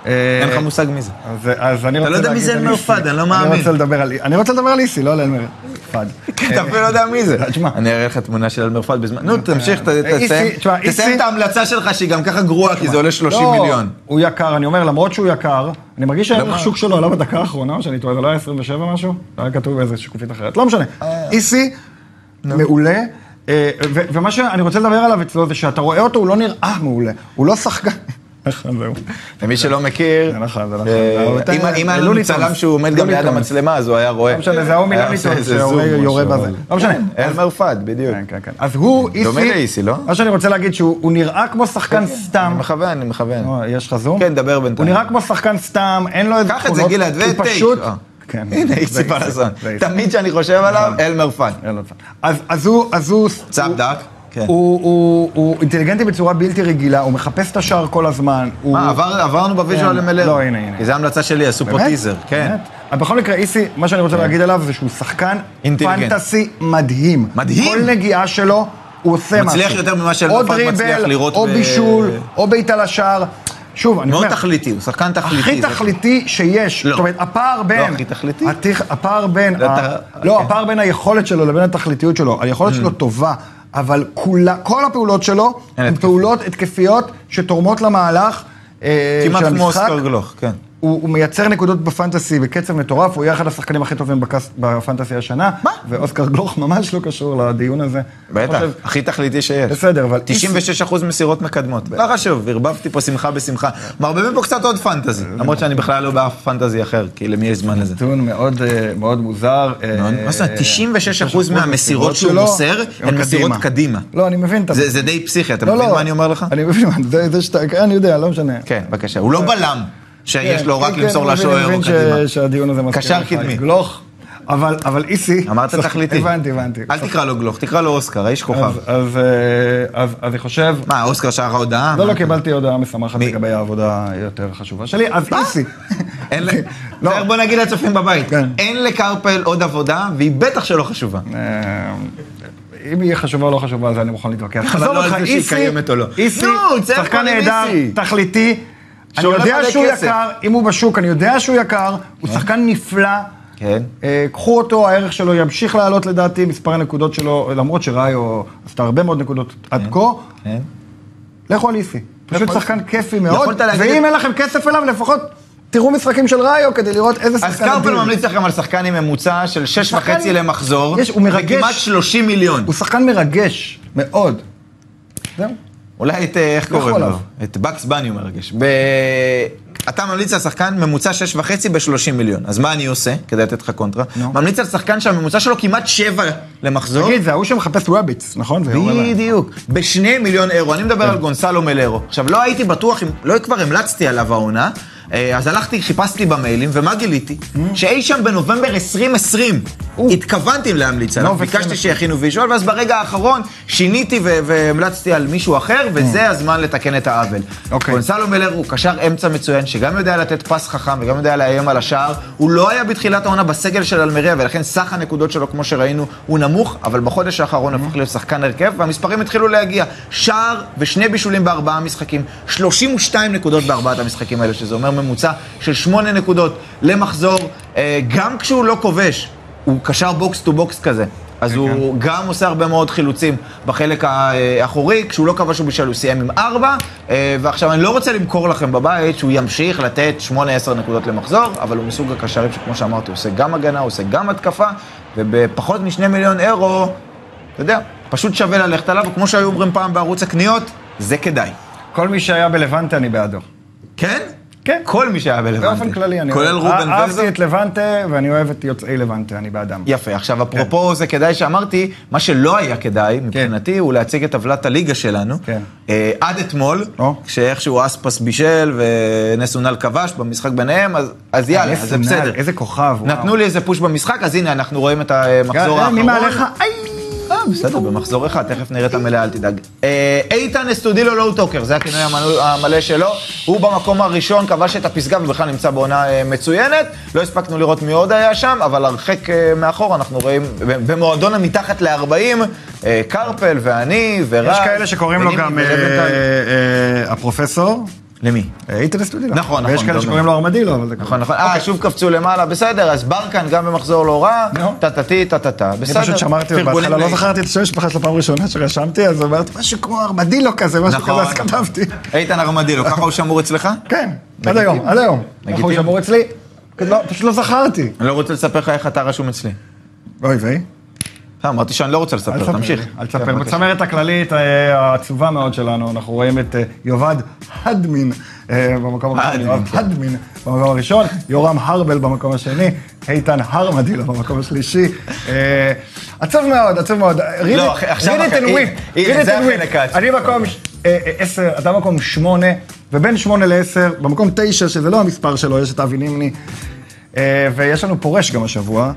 [SPEAKER 2] אה.
[SPEAKER 1] אין לך מושג מי זה.
[SPEAKER 2] אז, אז אני רוצה
[SPEAKER 1] לא יודע מי
[SPEAKER 2] להגיד
[SPEAKER 1] זה
[SPEAKER 2] על
[SPEAKER 1] אלמר
[SPEAKER 2] איסי.
[SPEAKER 1] פאד, אני לא מאמין.
[SPEAKER 2] רוצה לדבר על, אני רוצה לדבר על איסי, לא על אלמר פאד.
[SPEAKER 1] אתה אפילו לא יודע מי זה.
[SPEAKER 2] תשמע.
[SPEAKER 1] אני אראה לך תמונה של אלמר פאד בזמן... נו, תמשיך, ת-
[SPEAKER 2] אה, איסי,
[SPEAKER 1] תסיים
[SPEAKER 2] תשמע, איסי-
[SPEAKER 1] תסיים את ההמלצה שלך, שהיא גם ככה גרועה, כי זה עולה 30
[SPEAKER 2] לא,
[SPEAKER 1] מיליון.
[SPEAKER 2] הוא יקר, אני אומר, למרות שהוא יקר, אני מרגיש
[SPEAKER 1] למה?
[SPEAKER 2] שהערך שוק שלו עלה בדקה האחרונה, או שאני טועה, זה לא היה 27 משהו? זה היה כתוב באיזה שקופית אחרת. לא משנה.
[SPEAKER 1] אה.
[SPEAKER 2] איסי,
[SPEAKER 1] לא.
[SPEAKER 2] מעולה. אה, ו- ומה שאני רוצה לדבר עליו אצלו זה שאתה רואה אותו, הוא לא נראה מעולה. הוא לא שחקן.
[SPEAKER 1] אה,
[SPEAKER 2] נכון, זהו.
[SPEAKER 1] למי שלא מכיר,
[SPEAKER 2] זה נכון, זה נכון.
[SPEAKER 1] אה,
[SPEAKER 2] אתה- לא
[SPEAKER 1] אם- אם היה
[SPEAKER 2] זה
[SPEAKER 1] לנו
[SPEAKER 2] לולי
[SPEAKER 1] צלם
[SPEAKER 2] תומאס.
[SPEAKER 1] שהוא עומד גם
[SPEAKER 2] לולי
[SPEAKER 1] ליד
[SPEAKER 2] תומאס.
[SPEAKER 1] המצלמה, אז הוא היה רואה.
[SPEAKER 2] לא משנה, זה ההוא
[SPEAKER 1] היה
[SPEAKER 2] מילניטון
[SPEAKER 1] עושה איזה
[SPEAKER 2] שיורה-
[SPEAKER 1] אה, זום או
[SPEAKER 2] יורה
[SPEAKER 1] משהו,
[SPEAKER 2] בזה.
[SPEAKER 1] אבל-
[SPEAKER 2] לא משנה.
[SPEAKER 1] כן, אלמר פאד, בדיוק.
[SPEAKER 2] כן, כן, כן. אז הוא איסי.
[SPEAKER 1] דומה לאיסי, לא? כן,
[SPEAKER 2] מה שאני רוצה להגיד שהוא הוא נראה כמו שחקן
[SPEAKER 1] אני
[SPEAKER 2] סתם.
[SPEAKER 1] מכוון, אני מכוון.
[SPEAKER 2] אה, יש לך זום?
[SPEAKER 1] כן, דבר בינתיים.
[SPEAKER 2] הוא נראה כמו שחקן סתם, אין לו איזה
[SPEAKER 1] קח את זה, גלעד,
[SPEAKER 2] הוא
[SPEAKER 1] ותשע.
[SPEAKER 2] פשוט...
[SPEAKER 1] אה.
[SPEAKER 2] כן.
[SPEAKER 1] הנה,
[SPEAKER 2] זה
[SPEAKER 1] איסי פלסון.
[SPEAKER 2] זה איסי.
[SPEAKER 1] תמיד שאני חושב עליו, אלמר פאד.
[SPEAKER 2] אין לו צו. אז- אז הוא... אז הוא...
[SPEAKER 1] צו
[SPEAKER 2] הוא-
[SPEAKER 1] דק, כן.
[SPEAKER 2] הוא- הוא הוא אינטליגנטי בצורה בלתי רגילה, הוא מחפש את השער כל הזמן. הוא-
[SPEAKER 1] מה, אה, עבר- עברנו בוויז'ואל
[SPEAKER 2] כן.
[SPEAKER 1] למלר.
[SPEAKER 2] לא, הנה, הנה.
[SPEAKER 1] כי זו המלצה שלי, עשו פה
[SPEAKER 2] באמת?
[SPEAKER 1] טיזר. כן.
[SPEAKER 2] באמת? אבל בכל מקרה, איסי, מה שאני רוצה להגיד עליו זה שהוא שחקן
[SPEAKER 1] אינטליגנט.
[SPEAKER 2] פנטסי מדהים.
[SPEAKER 1] מדהים?
[SPEAKER 2] כל נגיעה שלו, הוא עושה משהו.
[SPEAKER 1] מצליח יותר ממה שאלמר
[SPEAKER 2] או
[SPEAKER 1] פאד מצליח
[SPEAKER 2] דריבל,
[SPEAKER 1] לראות
[SPEAKER 2] או
[SPEAKER 1] ב-
[SPEAKER 2] בישול, או בעיטה לשער. שוב, אני
[SPEAKER 1] מאוד
[SPEAKER 2] אומר...
[SPEAKER 1] תכליתי, הוא שחקן תכליתי.
[SPEAKER 2] הכי
[SPEAKER 1] זה-
[SPEAKER 2] תכליתי שיש.
[SPEAKER 1] לא.
[SPEAKER 2] זאת אומרת, הפער בין...
[SPEAKER 1] הכי תכליתי.
[SPEAKER 2] התיח- הפער בין...
[SPEAKER 1] לא,
[SPEAKER 2] ה-
[SPEAKER 1] אתה-
[SPEAKER 2] לא,
[SPEAKER 1] אוקיי. Mm.
[SPEAKER 2] הפער בין היכולת שלו לבין התכליתיות שלו. היכולת שלו טובה, אבל כולה- כל הפעולות שלו
[SPEAKER 1] הן
[SPEAKER 2] הן
[SPEAKER 1] התקפיות.
[SPEAKER 2] פעולות התקפיות שתורמות למהלך אה, של
[SPEAKER 1] כמעט
[SPEAKER 2] המשחק.
[SPEAKER 1] כמו אוסקר גלוך, כן.
[SPEAKER 2] הוא, הוא מייצר נקודות בפנטסי בקצב מטורף, הוא יהיה אחד השחקנים הכי טובים בקס, בפנטסי השנה.
[SPEAKER 1] מה?
[SPEAKER 2] ואוסקר גלוך ממש לא קשור לדיון הזה.
[SPEAKER 1] בטח,
[SPEAKER 2] חושב-
[SPEAKER 1] הכי תכליתי שיש.
[SPEAKER 2] בסדר, אבל-
[SPEAKER 1] 96% מסירות מקדמות. לא חשוב, ערבבתי פה שמחה בשמחה. מערבבים פה קצת עוד פנטזי,
[SPEAKER 2] אה,
[SPEAKER 1] למרות שאני בכלל לא באף פנטזי אחר, כי למי יש זמן לזה?
[SPEAKER 2] נתון מאוד, אה, מאוד מוזר. אה,
[SPEAKER 1] מאוד- מה זאת אומרת, 96%
[SPEAKER 2] מהמסירות
[SPEAKER 1] מהמסירות שהוא
[SPEAKER 2] שלו
[SPEAKER 1] נכון. מוסר,
[SPEAKER 2] הם
[SPEAKER 1] הן מסירות קדימה.
[SPEAKER 2] לא, אני מבין את
[SPEAKER 1] זה זה די פסיכי, אתה
[SPEAKER 2] לא,
[SPEAKER 1] מבין
[SPEAKER 2] לא.
[SPEAKER 1] מה אני אומר לך?
[SPEAKER 2] אני מבין, מה- זה, זה שאתה... אני יודע, לא משנה.
[SPEAKER 1] כן, בבקשה. הוא לא בלם, שיש
[SPEAKER 2] כן,
[SPEAKER 1] לו רק
[SPEAKER 2] כן,
[SPEAKER 1] למסור
[SPEAKER 2] אני
[SPEAKER 1] לשוער
[SPEAKER 2] מבין, אני
[SPEAKER 1] או
[SPEAKER 2] מבין ש-
[SPEAKER 1] קדימה.
[SPEAKER 2] שהדיון הזה מזכיר
[SPEAKER 1] קשר
[SPEAKER 2] לך
[SPEAKER 1] קדמי.
[SPEAKER 2] את גלוך. אבל, אבל איסי...
[SPEAKER 1] אמרת
[SPEAKER 2] סליחה,
[SPEAKER 1] תכליתי.
[SPEAKER 2] הבנתי, הבנתי.
[SPEAKER 1] אל תקרא לו גלוך, תקרא לו אוסקר, האיש כוכב.
[SPEAKER 2] אז, אז, אה, אז, אז אני חושב,
[SPEAKER 1] מה, אוסקר שר לך הודעה?
[SPEAKER 2] לא,
[SPEAKER 1] מה?
[SPEAKER 2] לא קיבלתי הודעה משמחת
[SPEAKER 1] מי?
[SPEAKER 2] לגבי העבודה היותר חשובה שלי, אז איסי.
[SPEAKER 1] אין ל-
[SPEAKER 2] לא.
[SPEAKER 1] בסדר, בוא נגיד לצופים בבית,
[SPEAKER 2] כן.
[SPEAKER 1] אין לקרפל עוד עבודה, והיא בטח שלא חשובה.
[SPEAKER 2] אה, אם היא חשובה או לא חשובה, על זה אני מוכן להתווכח.
[SPEAKER 1] אבל
[SPEAKER 2] עזוב
[SPEAKER 1] לא
[SPEAKER 2] אותך,
[SPEAKER 1] על זה שהיא
[SPEAKER 2] איסי,
[SPEAKER 1] קיימת או לא.
[SPEAKER 2] איסי,
[SPEAKER 1] נו, צא כבר
[SPEAKER 2] שחקן
[SPEAKER 1] עם
[SPEAKER 2] נהדר,
[SPEAKER 1] איסי.
[SPEAKER 2] תכליתי. אני
[SPEAKER 1] שעולה
[SPEAKER 2] יודע
[SPEAKER 1] מלא
[SPEAKER 2] שהוא
[SPEAKER 1] לא כסף.
[SPEAKER 2] יקר, אם הוא בשוק, אני יודע שהוא יקר, הוא שחקן נפלא.
[SPEAKER 1] כן.
[SPEAKER 2] אה, קחו אותו, הערך שלו ימשיך לעלות לדעתי, מספר הנקודות שלו, למרות שראיו עשתה הרבה מאוד נקודות עד כה.
[SPEAKER 1] כן.
[SPEAKER 2] לכו על איסי. פשוט
[SPEAKER 1] יכולת-
[SPEAKER 2] שחקן כיפי מאוד,
[SPEAKER 1] יכולת להגיד-
[SPEAKER 2] ואם אין לכם כסף אליו, לפחות תראו משחקים של ראיו כדי לראות איזה שחקן
[SPEAKER 1] אז קרפל ממליץ לכם על שחקן עם ממוצע של שש
[SPEAKER 2] שחקן-
[SPEAKER 1] וחצי למחזור,
[SPEAKER 2] יש, הוא מרגש.
[SPEAKER 1] וכמעט 30 מיליון.
[SPEAKER 2] הוא שחקן מרגש, מאוד. זהו.
[SPEAKER 1] אולי את, אה, איך
[SPEAKER 2] לכו
[SPEAKER 1] קוראים לו?
[SPEAKER 2] עליו.
[SPEAKER 1] את בקס בני הוא מרגש. ב... אתה ממליץ על שחקן ממוצע שש וחצי ב-30 מיליון. אז מה אני עושה, כדי לתת לך קונטרה?
[SPEAKER 2] נו.
[SPEAKER 1] ממליץ על שחקן שהממוצע שלו כמעט שבע למחזור.
[SPEAKER 2] תגיד, זה ההוא שמחפש וואביץ, נכון? זה יורה להם.
[SPEAKER 1] בדיוק. בשני מיליון אירו, אני מדבר על גונסלו מלרו. עכשיו, לא הייתי בטוח, אם- לא כבר המלצתי עליו העונה, אה, אז הלכתי, חיפשתי במיילים, ומה גיליתי? שאי שם בנובמבר 2020, התכוונתי להמליץ עליו,
[SPEAKER 2] לא, וכן.
[SPEAKER 1] ביקשתי שיכינו ויז'ואל, ואז ברגע האחרון שיניתי ו- והמלצתי על מישהו אחר, וזה הזמן לתקן את העוול.
[SPEAKER 2] אוקיי.
[SPEAKER 1] גונסלו מלר הוא קשר אמצע מצוין, שגם יודע לתת פס חכם וגם יודע לאיים על השער. הוא לא היה בתחילת העונה בסגל של אלמריה, ולכן סך הנקודות שלו, כמו שראינו, הוא נמוך, אבל בחודש האחרון הפך להיות שחקן הרכב, והמספרים התחילו להגיע. שער ושני בישולים בארבעה משחקים, 32 נקודות בארבעת המשחקים האלה, שזה אומר ממוצע של שמונה נקודות למחזור, אה, גם כשהוא לא כובש. הוא קשר בוקס טו בוקס כזה. אז
[SPEAKER 2] כן,
[SPEAKER 1] הוא גם עושה הרבה מאוד חילוצים בחלק האחורי, כשהוא לא כבש הוא בשל, הוא סיים עם ארבע, אה, ועכשיו אני לא רוצה למכור לכם בבית שהוא ימשיך לתת שמונה, עשר נקודות למחזור, אבל הוא מסוג הקשרים שכמו שאמרתי, הוא עושה גם הגנה, הוא עושה גם התקפה, ובפחות משני מיליון אירו, אתה יודע, פשוט שווה ללכת עליו, וכמו שהיו אומרים פעם בערוץ הקניות, זה כדאי.
[SPEAKER 2] כל מי שהיה בלבנטה, אני בעדו.
[SPEAKER 1] כן?
[SPEAKER 2] כן.
[SPEAKER 1] כל מי שהיה בלבנטה.
[SPEAKER 2] באופן כללי, אני
[SPEAKER 1] כולל
[SPEAKER 2] אוהב.
[SPEAKER 1] רובן
[SPEAKER 2] אה-
[SPEAKER 1] ולזר.
[SPEAKER 2] אהבתי את לבנטה, ואני אוהב את יוצאי לבנטה, אני בעדם.
[SPEAKER 1] יפה, עכשיו
[SPEAKER 2] כן.
[SPEAKER 1] אפרופו זה כדאי שאמרתי, מה שלא היה כדאי מבחינתי הוא להציג את טבלת הליגה שלנו.
[SPEAKER 2] כן.
[SPEAKER 1] אה, עד אתמול,
[SPEAKER 2] או.
[SPEAKER 1] כשאיכשהו אספס בישל ונסונל כבש במשק ביניהם, אז- אז יאללה, אז זה
[SPEAKER 2] איזה
[SPEAKER 1] בסדר.
[SPEAKER 2] נעל, איזה כוכב, וואו.
[SPEAKER 1] נתנו לי איזה פוש במשחק, אז הנה אנחנו רואים את המחזור
[SPEAKER 2] אה,
[SPEAKER 1] האחרון.
[SPEAKER 2] מי מעליך? איי!
[SPEAKER 1] אה, בסדר, במחזור אחד, תכף נראה את המלאה, אל תדאג. אה, איתן אסטודילו לואו טוקר, זה הכינוי המנו- המלא שלו. הוא במקום הראשון, כבש את הפסגה ובכלל נמצא בעונה אה, מצוינת. לא הספקנו לראות מי עוד היה שם, אבל הרחק אה, מאחור אנחנו רואים, ב- במועדון המתחת ל-40, אה, קרפל ואני ורז.
[SPEAKER 2] יש כאלה שקוראים לו
[SPEAKER 1] ונימי
[SPEAKER 2] גם
[SPEAKER 1] ולבנטל.
[SPEAKER 2] אה, אה, הפרופסור.
[SPEAKER 1] למי?
[SPEAKER 2] אה, איתן אסטודילו.
[SPEAKER 1] נכון,
[SPEAKER 2] ויש
[SPEAKER 1] נכון,
[SPEAKER 2] כאלה
[SPEAKER 1] דומה.
[SPEAKER 2] שקוראים לו ארמדילו, אבל זה
[SPEAKER 1] נכון, נכון. אה, שוב קפצו למעלה, בסדר, אז ברקן גם במחזור לא רע,
[SPEAKER 2] נו.
[SPEAKER 1] טה-טה-טי, טה-טה-טה, בסדר.
[SPEAKER 2] אני פשוט שמרתי, לו,
[SPEAKER 1] פרגונים
[SPEAKER 2] בהתחלה לא
[SPEAKER 1] לאיתן.
[SPEAKER 2] זכרתי את השם שלך שלו פעם ראשונה שרשמתי, אז אמרתי משהו כמו ארמדילו כזה, משהו
[SPEAKER 1] נכון.
[SPEAKER 2] כזה, אז כתבתי.
[SPEAKER 1] איתן ארמדילו, ככה הוא שמור אצלך?
[SPEAKER 2] כן, עד היום, עד היום. איך הוא
[SPEAKER 1] לגיטימי.
[SPEAKER 2] שמור אצלי? לא, פשוט לא זכרתי.
[SPEAKER 1] אני לא רוצה לספר לך איך אתה רשום אצלי.
[SPEAKER 2] אוי ויי.
[SPEAKER 1] אה, אמרתי שאני לא רוצה
[SPEAKER 2] אל
[SPEAKER 1] לספר,
[SPEAKER 2] תספר
[SPEAKER 1] תמשיך. כן,
[SPEAKER 2] לי, אל תספר. בצמרת הכללית אה, העצובה מאוד שלנו, אנחנו רואים את אה, יובד הדמין אה, במקום הראשון,
[SPEAKER 1] הדמין,
[SPEAKER 2] יובב
[SPEAKER 1] כן.
[SPEAKER 2] הדמין במקום הראשון, יורם הרבל במקום השני, איתן הרמדילו במקום השלישי. אה, עצוב מאוד, עצוב מאוד. Read
[SPEAKER 1] לא,
[SPEAKER 2] it-
[SPEAKER 1] עכשיו
[SPEAKER 2] read it
[SPEAKER 1] הח-
[SPEAKER 2] and
[SPEAKER 1] הנה,
[SPEAKER 2] weep.
[SPEAKER 1] הנה,
[SPEAKER 2] read it
[SPEAKER 1] זה
[SPEAKER 2] and
[SPEAKER 1] החלק
[SPEAKER 2] weep.
[SPEAKER 1] העצוב.
[SPEAKER 2] אני מקום ש- אה, אה, עשר, אתה מקום שמונה, ובין שמונה לעשר, במקום תשע, שזה לא המספר שלו, יש את אבי נימני. אה, ויש לנו פורש גם השבוע,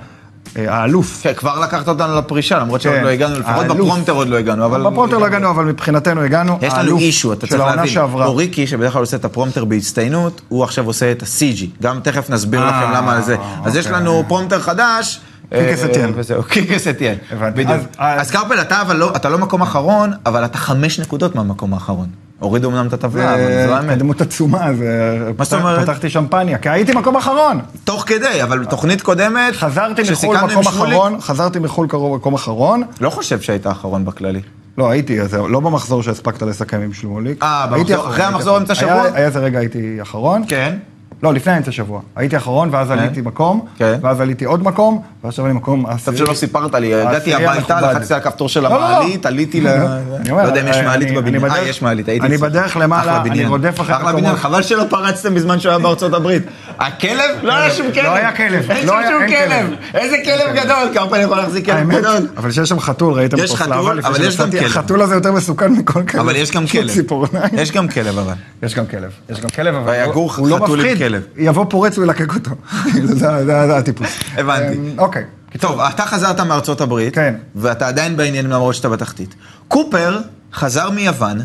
[SPEAKER 2] אה, האלוף.
[SPEAKER 1] כן, כבר לקחת אותנו לפרישה, למרות שעוד
[SPEAKER 2] כן.
[SPEAKER 1] לא הגענו, לפחות
[SPEAKER 2] האלוף.
[SPEAKER 1] בפרומטר עוד לא הגענו, אבל...
[SPEAKER 2] בפרומטר לא הגענו, אבל מבחינתנו הגענו.
[SPEAKER 1] יש לנו
[SPEAKER 2] האלוף
[SPEAKER 1] אישו, אתה
[SPEAKER 2] של
[SPEAKER 1] צריך
[SPEAKER 2] העונה
[SPEAKER 1] להבין.
[SPEAKER 2] שעברה.
[SPEAKER 1] אוריקי, שבדרך כלל עושה את הפרומטר בהצטיינות, הוא עכשיו עושה את ה-CG. גם תכף נסביר
[SPEAKER 2] אה,
[SPEAKER 1] לכם למה זה. אז יש
[SPEAKER 2] אוקיי.
[SPEAKER 1] לנו פרומטר חדש.
[SPEAKER 2] קיקס
[SPEAKER 1] אה,
[SPEAKER 2] אתיין.
[SPEAKER 1] וזהו, קיקס אתיין.
[SPEAKER 2] הבנתי.
[SPEAKER 1] בדיוק.
[SPEAKER 2] אז- אז-
[SPEAKER 1] אז קרפל, אתה אבל לא- אתה לא מקום אחרון, אבל אתה חמש נקודות מהמקום האחרון. הורידו אמנם את
[SPEAKER 2] אה,
[SPEAKER 1] הטבלה, אבל אה, זו
[SPEAKER 2] זה
[SPEAKER 1] האמת.
[SPEAKER 2] התקדמות עצומה, זה...
[SPEAKER 1] מה זאת אומרת?
[SPEAKER 2] אה, פתחתי שמפניה, כי הייתי מקום אחרון.
[SPEAKER 1] תוך כדי, אבל בתוכנית קודמת,
[SPEAKER 2] חזרתי מחו"ל
[SPEAKER 1] כשסיכמנו עם
[SPEAKER 2] מקום
[SPEAKER 1] שמוליק-
[SPEAKER 2] אחרון, חזרתי מחו"ל קרוב מקום אחרון.
[SPEAKER 1] לא חושב שהיית האחרון בכללי.
[SPEAKER 2] לא, הייתי, אז לא במחזור שהספקת לסכם עם שלמוליק.
[SPEAKER 1] אה, במחזור-
[SPEAKER 2] הייתי אחרון,
[SPEAKER 1] אחרי
[SPEAKER 2] הייתי
[SPEAKER 1] המחזור
[SPEAKER 2] אחרון.
[SPEAKER 1] אמצע שבוע?
[SPEAKER 2] היה- היה איזה רגע הייתי אחרון.
[SPEAKER 1] כן.
[SPEAKER 2] לא, לפני אמצע שבוע. הייתי אחרון, ואז עליתי מקום,
[SPEAKER 1] כן.
[SPEAKER 2] ואז עליתי עוד מקום, ועכשיו אני מקום
[SPEAKER 1] עכשיו
[SPEAKER 2] עשירי.
[SPEAKER 1] שלא סיפרת לי, הגעתי
[SPEAKER 2] העשירי
[SPEAKER 1] הביתה,
[SPEAKER 2] המכובד.
[SPEAKER 1] לחצתי על הכפתור של
[SPEAKER 2] אה, לא, לא, לא.
[SPEAKER 1] המעלית, עליתי ל...
[SPEAKER 2] אני
[SPEAKER 1] לא
[SPEAKER 2] אומר,
[SPEAKER 1] יודע אם יש
[SPEAKER 2] אני-
[SPEAKER 1] מעלית
[SPEAKER 2] אני
[SPEAKER 1] בבניין. אה,
[SPEAKER 2] בדרך-
[SPEAKER 1] יש מעלית, הייתי...
[SPEAKER 2] אני
[SPEAKER 1] אצלך.
[SPEAKER 2] בדרך למעלה,
[SPEAKER 1] אחלה
[SPEAKER 2] אני
[SPEAKER 1] בניין.
[SPEAKER 2] רודף אחרי
[SPEAKER 1] אחלה
[SPEAKER 2] מקומות.
[SPEAKER 1] בניין, חבל שלא פרצתם בזמן שהוא היה בארצות הברית. הכלב? לא היה שום כלב.
[SPEAKER 2] היה כלב.
[SPEAKER 1] אין
[SPEAKER 2] לא
[SPEAKER 1] שם
[SPEAKER 2] היה-
[SPEAKER 1] שום
[SPEAKER 2] אין
[SPEAKER 1] כלב.
[SPEAKER 2] כלב.
[SPEAKER 1] איזה כלב גדול, קרפל יכול להחזיק כלב
[SPEAKER 2] האמת,
[SPEAKER 1] גדול.
[SPEAKER 2] אבל שיש שם חתול, ראיתם
[SPEAKER 1] יש
[SPEAKER 2] אותו,
[SPEAKER 1] חתול,
[SPEAKER 2] סלבה לפני
[SPEAKER 1] אבל יש גם
[SPEAKER 2] שנסעתי,
[SPEAKER 1] כלב.
[SPEAKER 2] החתול הזה יותר מסוכן מכל כלב.
[SPEAKER 1] אבל יש גם
[SPEAKER 2] שהוא
[SPEAKER 1] כלב.
[SPEAKER 2] ציפורניים.
[SPEAKER 1] יש גם כלב אבל.
[SPEAKER 2] יש גם כלב, יש גם כלב, אבל
[SPEAKER 1] ויגור
[SPEAKER 2] הוא לא
[SPEAKER 1] חתול עם
[SPEAKER 2] מפחיד.
[SPEAKER 1] כלב.
[SPEAKER 2] יבוא פורץ ולקק אותו. כאילו, זה זה- זה הטיפוס.
[SPEAKER 1] הבנתי.
[SPEAKER 2] אמ, אוקיי.
[SPEAKER 1] טוב, אתה חזרת מארצות הברית,
[SPEAKER 2] כן.
[SPEAKER 1] ואתה עדיין בעניינים למרות שאתה בתחתית. קופר חזר מיוון,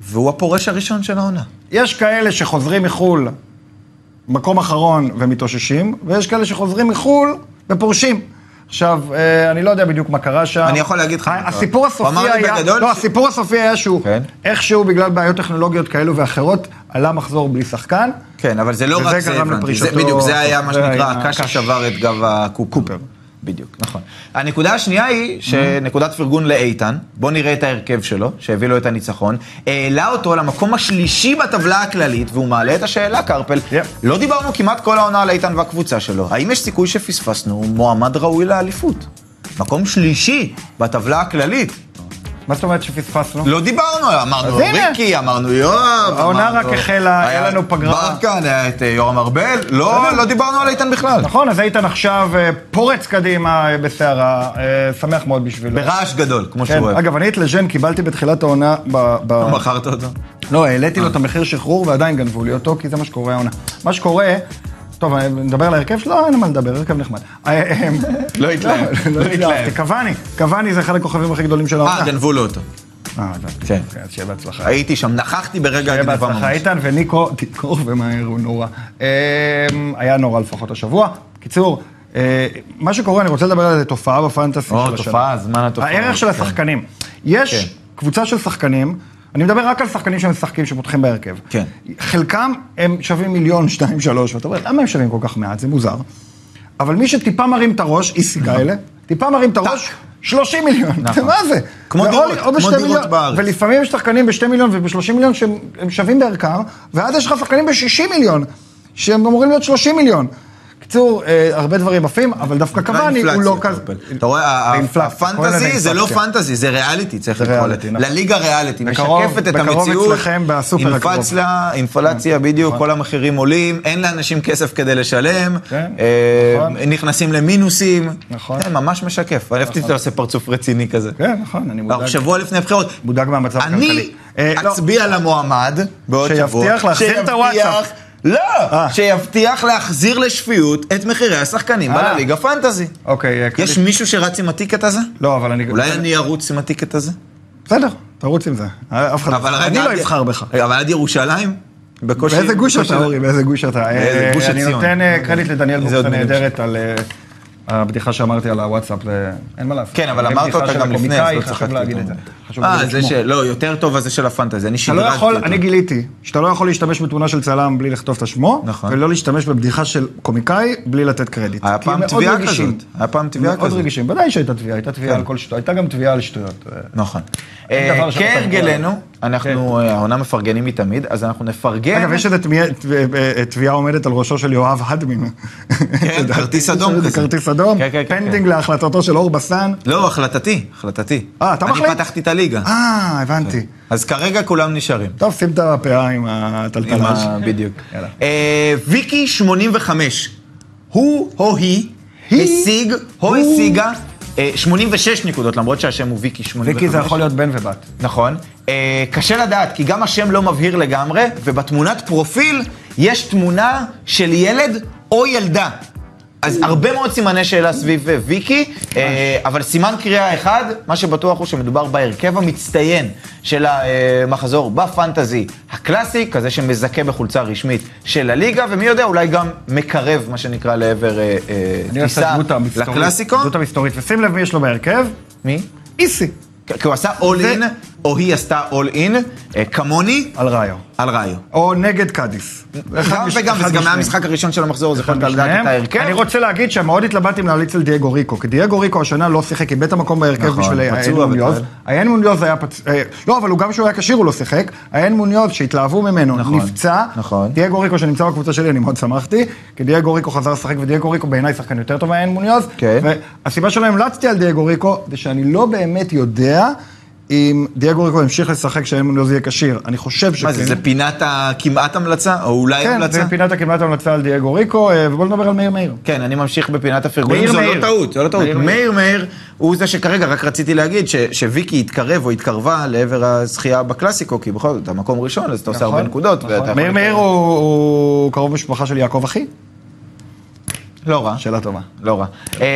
[SPEAKER 1] והוא הפורש הראשון של העונה.
[SPEAKER 2] יש כאלה שחוזרים מחו"ל, מקום אחרון, ומתאוששים, ויש כאלה שחוזרים מחו"ל ופורשים. עכשיו, אה, אני לא יודע בדיוק מה קרה שם.
[SPEAKER 1] אני יכול להגיד לך מה קרה.
[SPEAKER 2] הסיפור
[SPEAKER 1] הוא אמר
[SPEAKER 2] הסופי
[SPEAKER 1] לי
[SPEAKER 2] היה...
[SPEAKER 1] בגדול
[SPEAKER 2] לא,
[SPEAKER 1] ש-
[SPEAKER 2] הסיפור הסופי היה שהוא,
[SPEAKER 1] כן.
[SPEAKER 2] איכשהו בגלל בעיות טכנולוגיות כאלו ואחרות, עלה מחזור בלי שחקן.
[SPEAKER 1] כן, אבל זה לא
[SPEAKER 2] וזה
[SPEAKER 1] רק זה,
[SPEAKER 2] גרם
[SPEAKER 1] הבנתי. זה
[SPEAKER 2] לפרישתו-
[SPEAKER 1] בדיוק, זה היה מה
[SPEAKER 2] זה
[SPEAKER 1] שנקרא,
[SPEAKER 2] היה
[SPEAKER 1] הקש
[SPEAKER 2] הקש.
[SPEAKER 1] ששבר את גב הקופר. בדיוק, נכון. הנקודה השנייה היא, שנקודת פרגון לאיתן, בוא נראה את ההרכב שלו, שהביא לו את הניצחון, העלה אותו למקום השלישי בטבלה הכללית, והוא מעלה את השאלה, קרפל.
[SPEAKER 2] Yep.
[SPEAKER 1] לא דיברנו כמעט כל העונה על איתן והקבוצה שלו. האם יש סיכוי שפספסנו מועמד ראוי לאליפות? מקום שלישי בטבלה הכללית.
[SPEAKER 2] מה זאת אומרת שפספסנו?
[SPEAKER 1] לא דיברנו, אמרנו
[SPEAKER 2] אז הנה.
[SPEAKER 1] ריקי, אמרנו יואב.
[SPEAKER 2] העונה
[SPEAKER 1] אמרנו-
[SPEAKER 2] רק החלה, היה לנו פגרה.
[SPEAKER 1] ברקן, היה את אה, יורם ארבל, לא
[SPEAKER 2] בסדר.
[SPEAKER 1] לא דיברנו על איתן בכלל.
[SPEAKER 2] נכון, אז איתן עכשיו אה, פורץ קדימה אה, בסערה, אה, שמח מאוד בשבילו.
[SPEAKER 1] ברעש גדול, כמו שהוא
[SPEAKER 2] כן,
[SPEAKER 1] אוהב.
[SPEAKER 2] אגב, אני את לז'ן קיבלתי בתחילת העונה ב... ב-
[SPEAKER 1] לא מכרת אותו.
[SPEAKER 2] לא, העליתי לו את המחיר שחרור ועדיין גנבו לי אותו, כי זה מה שקורה העונה. מה שקורה, טוב, נדבר על ההרכב שלו, אין מה לדבר, הרכב נחמד. אה, אה, אה,
[SPEAKER 1] לא התלהב,
[SPEAKER 2] לא התלהבתי. קוואני, קוואני זה אחד הכוכבים הכי גדולים של העונה.
[SPEAKER 1] אה, גנבו לו אותו.
[SPEAKER 2] אה, הבנתי.
[SPEAKER 1] כן.
[SPEAKER 2] אוקיי, אז שיהיה בהצלחה.
[SPEAKER 1] הייתי שם, נכחתי ברגע
[SPEAKER 2] שיהיה
[SPEAKER 1] הגנבה
[SPEAKER 2] בהצלחה,
[SPEAKER 1] ממש.
[SPEAKER 2] איתן, וניקו, תזכור ומהר הוא נורא. אמ, היה נורא לפחות השבוע. קיצור, אה, מה שקורה, אני רוצה לדבר על איזה תופעה בפנטסי של
[SPEAKER 1] או,
[SPEAKER 2] השנה.
[SPEAKER 1] תופעה, זמן התופעה.
[SPEAKER 2] הערך של
[SPEAKER 1] כן.
[SPEAKER 2] השחקנים. יש קבוצה של שחקנים, אני מדבר רק על שחקנים שמשחקים, שפותחים בהרכב.
[SPEAKER 1] כן.
[SPEAKER 2] חלקם הם שווים מיליון, שתיים, שלוש, ואתה אומר, למה הם שווים כל כך מעט? זה מוזר. אבל מי שטיפה מרים את הראש, איסי כאלה, טיפה מרים את הראש, 30 מיליון.
[SPEAKER 1] נכון.
[SPEAKER 2] מה זה?
[SPEAKER 1] כמו
[SPEAKER 2] זה או-
[SPEAKER 1] דירות,
[SPEAKER 2] או
[SPEAKER 1] כמו
[SPEAKER 2] בשתי
[SPEAKER 1] דירות
[SPEAKER 2] מיליון-
[SPEAKER 1] בארץ.
[SPEAKER 2] ולפעמים יש שחקנים ב-2 מיליון וב-30 מיליון שהם הם שווים בערכם, ואז יש לך שחקנים ב-60 מיליון, שהם אמורים להיות 30 מיליון. קיצור, אה, הרבה דברים עפים, אבל דווקא קוואני הוא לא כזה...
[SPEAKER 1] אתה רואה, ה-
[SPEAKER 2] האינפלציה, קוראים לזה
[SPEAKER 1] הפנטזי זה לא
[SPEAKER 2] אינפלציה.
[SPEAKER 1] פנטזי, זה ריאליטי, צריך
[SPEAKER 2] זה
[SPEAKER 1] לקרוא
[SPEAKER 2] כן. ריאליטי,
[SPEAKER 1] לזה.
[SPEAKER 2] נכון.
[SPEAKER 1] לליגה ריאליטי,
[SPEAKER 2] בקרוב-
[SPEAKER 1] משקפת את
[SPEAKER 2] בקרוב
[SPEAKER 1] המציאות.
[SPEAKER 2] אצלכם, בסופר הקרוב. נכון.
[SPEAKER 1] אינפלציה, אינפלציה בדיוק, כל המחירים עולים, אין לאנשים כסף כדי לשלם,
[SPEAKER 2] כן,
[SPEAKER 1] אה,
[SPEAKER 2] נכון.
[SPEAKER 1] נכנסים למינוסים.
[SPEAKER 2] נכון.
[SPEAKER 1] כן, ממש משקף. אהבתי שאתה עושה פרצוף רציני כזה.
[SPEAKER 2] כן, נכון, אני מודאג.
[SPEAKER 1] אנחנו שבוע לפני הבחירות.
[SPEAKER 2] מודאג מהמצב הכלכלי.
[SPEAKER 1] אני
[SPEAKER 2] אה, לא.
[SPEAKER 1] אצביע למועמד בעוד
[SPEAKER 2] שיבטיח
[SPEAKER 1] שבוע.
[SPEAKER 2] להחזיר את
[SPEAKER 1] שיבטיח-
[SPEAKER 2] הוואטסאפ.
[SPEAKER 1] לא!
[SPEAKER 2] אה.
[SPEAKER 1] שיבטיח להחזיר לשפיות את מחירי השחקנים
[SPEAKER 2] אה.
[SPEAKER 1] בליגה פנטזי.
[SPEAKER 2] אוקיי, אה, קרדיט.
[SPEAKER 1] יש מישהו שרץ עם הטיקט הזה?
[SPEAKER 2] לא, אבל אני...
[SPEAKER 1] אולי אני ארוץ עם הטיקט הזה?
[SPEAKER 2] בסדר, תרוץ עם זה. אה, אף אחד...
[SPEAKER 1] אבל רגע...
[SPEAKER 2] אני לא
[SPEAKER 1] עד-
[SPEAKER 2] אבחר בך.
[SPEAKER 1] אבל עד ירושלים? בקושי...
[SPEAKER 2] באיזה גוש
[SPEAKER 1] בקושי-
[SPEAKER 2] אתה, אורי? באיזה גוש אתה?
[SPEAKER 1] באיזה
[SPEAKER 2] אה,
[SPEAKER 1] גוש
[SPEAKER 2] אני
[SPEAKER 1] עציון.
[SPEAKER 2] נותן אה, קרדיט לדניאל
[SPEAKER 1] זה
[SPEAKER 2] בוקס
[SPEAKER 1] עוד מילים.
[SPEAKER 2] הנהדרת על אה, הבדיחה שאמרתי על הוואטסאפ, זה- אין מה לעשות.
[SPEAKER 1] כן, אבל
[SPEAKER 2] זה
[SPEAKER 1] אמרת
[SPEAKER 2] בדיחה
[SPEAKER 1] אותה
[SPEAKER 2] של
[SPEAKER 1] גם לפני, אז
[SPEAKER 2] הקומיקאי,
[SPEAKER 1] לא
[SPEAKER 2] חשוב
[SPEAKER 1] צחקתי.
[SPEAKER 2] להגיד את
[SPEAKER 1] אותה.
[SPEAKER 2] זה. חשוב
[SPEAKER 1] אה,
[SPEAKER 2] להגיד
[SPEAKER 1] זה
[SPEAKER 2] שמו.
[SPEAKER 1] של... לא, יותר טוב הזה של הפנטזי, אני
[SPEAKER 2] אתה לא
[SPEAKER 1] שדרגתי אותו.
[SPEAKER 2] יכול, אני גיליתי שאתה לא יכול להשתמש בתמונה של צלם בלי לכתוב את השמו,
[SPEAKER 1] נכון.
[SPEAKER 2] ולא להשתמש בבדיחה של קומיקאי בלי לתת קרדיט.
[SPEAKER 1] היה
[SPEAKER 2] כי הם
[SPEAKER 1] פעם
[SPEAKER 2] מאוד
[SPEAKER 1] תביעה
[SPEAKER 2] רגישים.
[SPEAKER 1] כזאת. היה פעם תביעה
[SPEAKER 2] מאוד
[SPEAKER 1] כזאת. כן.
[SPEAKER 2] רגישים, ודאי שהייתה תביעה, הייתה תביעה על כל שטויות, הייתה גם תביעה על שטויות. אה,
[SPEAKER 1] נכון.
[SPEAKER 2] אין
[SPEAKER 1] אה,
[SPEAKER 2] דבר שאתה
[SPEAKER 1] כהרגלנו,
[SPEAKER 2] מגיע.
[SPEAKER 1] אנחנו, אה, העונה מפרגנים מתמיד, אז אנחנו נפרגן.
[SPEAKER 2] אגב, יש איזו תמיה- ת- אה, תביעה עומדת על ראשו של יואב הדמין.
[SPEAKER 1] כן, כרטיס אדום
[SPEAKER 2] זה
[SPEAKER 1] כזה.
[SPEAKER 2] כרטיס אדום,
[SPEAKER 1] כן, כן, כן,
[SPEAKER 2] פנדינג להחלטתו של אור בסן.
[SPEAKER 1] לא, החלטתי, החלטתי.
[SPEAKER 2] אה, אתה מחליט?
[SPEAKER 1] אני פתחתי את הליגה.
[SPEAKER 2] אה, הבנתי.
[SPEAKER 1] אז כרגע כולם נשארים.
[SPEAKER 2] טוב, שים את הפאה
[SPEAKER 1] עם
[SPEAKER 2] עם הטלטלה.
[SPEAKER 1] ה- בדיוק.
[SPEAKER 2] יאללה.
[SPEAKER 1] אה, ויקי 85, הוא או היא
[SPEAKER 2] היא?
[SPEAKER 1] השיג או
[SPEAKER 2] הוא?
[SPEAKER 1] השיגה אה, 86 נקודות, למרות שהשם הוא ויקי 85.
[SPEAKER 2] ויקי זה יכול להיות בן ובת.
[SPEAKER 1] נכון. אה, קשה לדעת, כי גם השם לא מבהיר לגמרי, ובתמונת פרופיל יש תמונה של ילד או ילדה. אז הרבה מאוד סימני שאלה סביב אה, ויקי, אה, אבל סימן קריאה אחד, מה שבטוח הוא שמדובר בהרכב המצטיין של המחזור בפנטזי הקלאסי, כזה שמזכה בחולצה רשמית של הליגה, ומי יודע, אולי גם מקרב, מה שנקרא, לעבר אה, אה,
[SPEAKER 2] אני אוהב את
[SPEAKER 1] טיסה
[SPEAKER 2] הדמות המסתורית.
[SPEAKER 1] לקלאסיקו.
[SPEAKER 2] הדמות המסתורית. ושים לב מי יש לו בהרכב,
[SPEAKER 1] מי?
[SPEAKER 2] איסי.
[SPEAKER 1] כי הוא עשה אול
[SPEAKER 2] זה-
[SPEAKER 1] אין, או היא עשתה אול אין, כמוני,
[SPEAKER 2] על ראיו.
[SPEAKER 1] על ראיו.
[SPEAKER 2] או נגד קאדיס.
[SPEAKER 1] גם וגם, וזה גם היה המשחק הראשון של המחזור, אז יכולת לדעת את ההרכב.
[SPEAKER 2] אני רוצה להגיד שמאוד התלבטתי אם להמליץ על דייגו ריקו, כי דייגו ריקו השנה לא שיחק, איבד את המקום בהרכב
[SPEAKER 1] נכון,
[SPEAKER 2] בשביל
[SPEAKER 1] פצוע
[SPEAKER 2] האין מוניוז.
[SPEAKER 1] בטח.
[SPEAKER 2] האין מוניוז היה פצוע, לא, אבל הוא גם כשהוא היה כשיר הוא לא שיחק. האין מוניוז שהתלהבו ממנו,
[SPEAKER 1] נכון,
[SPEAKER 2] נפצע.
[SPEAKER 1] נכון.
[SPEAKER 2] דייגו ריקו שנמצא בקבוצה שלי, אני מאוד שמחתי, כי דייגו ריקו חזר לשחק, ודייגו ריקו בעיניי שחקן יותר טוב מהאין מוניוז.
[SPEAKER 1] כן.
[SPEAKER 2] והסיבה שלא המלצתי על דייגו ריקו, זה שאני לא באמת יודע אם דייגו ריקו ימשיך לשחק כשהאין מוניוז יהיה כשיר. אני חושב שכן.
[SPEAKER 1] מה זה, זה פינת הכמעט המלצה? או אולי
[SPEAKER 2] כן,
[SPEAKER 1] המלצה?
[SPEAKER 2] זה פינת הכמעט המלצה על דייגו ריקו, אה, ובואו נדבר על מאיר מאיר.
[SPEAKER 1] כן, אני ממשיך בפינת הפרגונים,
[SPEAKER 2] מאיר,
[SPEAKER 1] זו לא
[SPEAKER 2] מאיר.
[SPEAKER 1] טעות, זו לא טעות.
[SPEAKER 2] מאיר,
[SPEAKER 1] מאיר מאיר הוא זה שכרגע, רק רציתי להגיד ש- שוויקי התקרב או התקרבה לעבר הזכייה בקלאסיקו, כי בכל זאת, אתה מקום ראשון, אז אתה עושה הרבה
[SPEAKER 2] נכון,
[SPEAKER 1] נקודות. ואתה יכול-
[SPEAKER 2] מאיר מאיר הוא- הוא קרוב משפחה של יעקב אחי?
[SPEAKER 1] לא רע.
[SPEAKER 2] שאלה טובה.
[SPEAKER 1] לא רע. אה,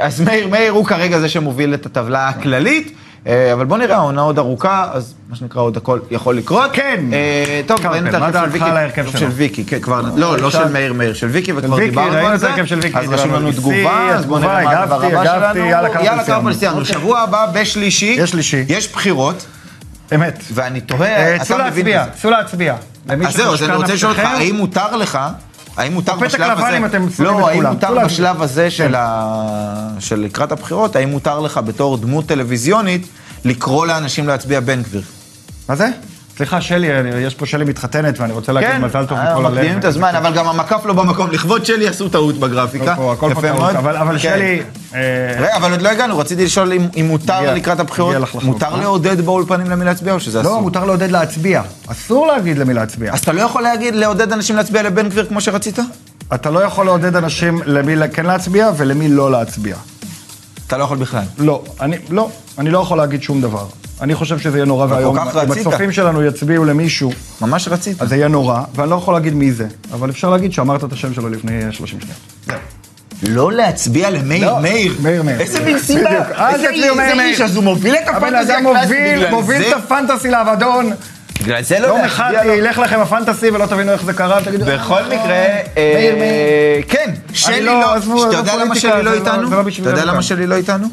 [SPEAKER 1] אז מאיר מאיר הוא כרגע זה שמוביל את הטבלה הכללית. אה, אבל בוא נראה, העונה עוד ארוכה, אז מה שנקרא עוד הכל יכול לקרות.
[SPEAKER 2] כן.
[SPEAKER 1] אה, טוב,
[SPEAKER 2] קרפל,
[SPEAKER 1] ראינו את
[SPEAKER 2] מה
[SPEAKER 1] ההרכב של
[SPEAKER 2] דעתך
[SPEAKER 1] ויקי.
[SPEAKER 2] על ההרכב
[SPEAKER 1] טוב,
[SPEAKER 2] שלו? אה,
[SPEAKER 1] של ויקי, כן, כבר... לא, לא
[SPEAKER 2] עכשיו-
[SPEAKER 1] של מאיר מאיר, של ויקי, וכבר
[SPEAKER 2] ויקי,
[SPEAKER 1] דיברנו על זה.
[SPEAKER 2] ראינו את ההרכב של ויקי,
[SPEAKER 1] אז
[SPEAKER 2] דיברנו
[SPEAKER 1] רשום
[SPEAKER 2] על
[SPEAKER 1] לנו
[SPEAKER 2] גיסי,
[SPEAKER 1] תגובה, אז בוא נראה מה
[SPEAKER 2] התגובה,
[SPEAKER 1] הדבר
[SPEAKER 2] הגבתי,
[SPEAKER 1] הבא
[SPEAKER 2] הגבתי,
[SPEAKER 1] שלנו.
[SPEAKER 2] יאללה, קרפל
[SPEAKER 1] יאללה,
[SPEAKER 2] סיימנו.
[SPEAKER 1] קרפל סיימנו. שבוע הבא, בשלישי.
[SPEAKER 2] יש שלישי.
[SPEAKER 1] יש בחירות,
[SPEAKER 2] אמת.
[SPEAKER 1] ואני
[SPEAKER 2] אה,
[SPEAKER 1] תוהה, אתה
[SPEAKER 2] צאו
[SPEAKER 1] מבין
[SPEAKER 2] להצביע,
[SPEAKER 1] בזה.
[SPEAKER 2] צאו להצביע. למי
[SPEAKER 1] אז זהו, אז אני
[SPEAKER 2] שמשכן
[SPEAKER 1] רוצה לשאול אותך,
[SPEAKER 2] נפשכם,
[SPEAKER 1] האם מותר לך, האם מותר
[SPEAKER 2] הפתק
[SPEAKER 1] בשלב
[SPEAKER 2] לבן,
[SPEAKER 1] הזה,
[SPEAKER 2] אם אתם מסוגלים את
[SPEAKER 1] לא, האם
[SPEAKER 2] כולם.
[SPEAKER 1] מותר
[SPEAKER 2] כולם. כן.
[SPEAKER 1] בשלב הזה של ה- של לקראת הבחירות, האם מותר לך בתור דמות טלוויזיונית לקרוא לאנשים להצביע בן גביר?
[SPEAKER 2] מה זה? סליחה, שלי, אני- יש פה שלי מתחתנת, ואני רוצה להגיד מזל טוב מכל הלב.
[SPEAKER 1] כן, מקדימים אה, את הזמן, אבל גם המקף לא במקום. לכבוד שלי עשו טעות בגרפיקה.
[SPEAKER 2] הכל לא פה- הכל פה
[SPEAKER 1] יפה
[SPEAKER 2] טעות,
[SPEAKER 1] מאוד.
[SPEAKER 2] אבל- אבל
[SPEAKER 1] כן.
[SPEAKER 2] שלי... אה,
[SPEAKER 1] רגע, אבל עוד לא הגענו, רציתי לשאול אם- אם מותר
[SPEAKER 2] הגיע-
[SPEAKER 1] לקראת הבחירות,
[SPEAKER 2] הגיע לך לחלוק,
[SPEAKER 1] מותר
[SPEAKER 2] אה?
[SPEAKER 1] לעודד באולפנים למי להצביע או שזה
[SPEAKER 2] לא,
[SPEAKER 1] אסור?
[SPEAKER 2] מותר לעודד להצביע. אסור להגיד למי להצביע.
[SPEAKER 1] אז אתה לא יכול להגיד לעודד אנשים להצביע לבן גביר כמו שרצית?
[SPEAKER 2] אתה לא יכול לעודד אנשים למי כן להצביע ולמי לא להצביע.
[SPEAKER 1] אתה לא יכול בכלל.
[SPEAKER 2] לא, אני לא, אני לא יכול להגיד שום דבר. אני חושב שזה יהיה נורא ואיום.
[SPEAKER 1] כך
[SPEAKER 2] אם
[SPEAKER 1] רצית.
[SPEAKER 2] הצופים שלנו יצביעו למישהו,
[SPEAKER 1] ממש רצית.
[SPEAKER 2] אז זה יהיה נורא, ואני לא יכול להגיד מי זה, אבל אפשר להגיד שאמרת את השם שלו לפני אה, 30 שניות.
[SPEAKER 1] לא להצביע למאיר,
[SPEAKER 2] לא,
[SPEAKER 1] מאיר.
[SPEAKER 2] מאיר, מאיר.
[SPEAKER 1] איזה מין סיבה.
[SPEAKER 2] בדיוק, אל
[SPEAKER 1] איזה
[SPEAKER 2] תצביעו מאיר,
[SPEAKER 1] איזה
[SPEAKER 2] מאיר.
[SPEAKER 1] איש, אז הוא מוביל את
[SPEAKER 2] הבן
[SPEAKER 1] הפנטזיה
[SPEAKER 2] אדם
[SPEAKER 1] הקלאסית
[SPEAKER 2] מוביל,
[SPEAKER 1] בגלל
[SPEAKER 2] מוביל
[SPEAKER 1] זה?
[SPEAKER 2] את הפנטסי לאבדון.
[SPEAKER 1] בגלל זה לא
[SPEAKER 2] יום אחד
[SPEAKER 1] להצביע לו.
[SPEAKER 2] ילך לכם הפנטסי ולא תבינו איך זה קרה, ותגידו...
[SPEAKER 1] בכל מקרה,
[SPEAKER 2] מאיר,
[SPEAKER 1] אה,
[SPEAKER 2] מאיר.
[SPEAKER 1] כן, שלי
[SPEAKER 2] לא,
[SPEAKER 1] לא,
[SPEAKER 2] עזבו,
[SPEAKER 1] שאתה
[SPEAKER 2] עזבו
[SPEAKER 1] יודע למה
[SPEAKER 2] פוליטיקה,
[SPEAKER 1] שלי לא
[SPEAKER 2] זה לא-
[SPEAKER 1] איתנו?
[SPEAKER 2] זה לא בשביל
[SPEAKER 1] אתה יודע
[SPEAKER 2] זה
[SPEAKER 1] למה
[SPEAKER 2] כאן.
[SPEAKER 1] שלי לא איתנו?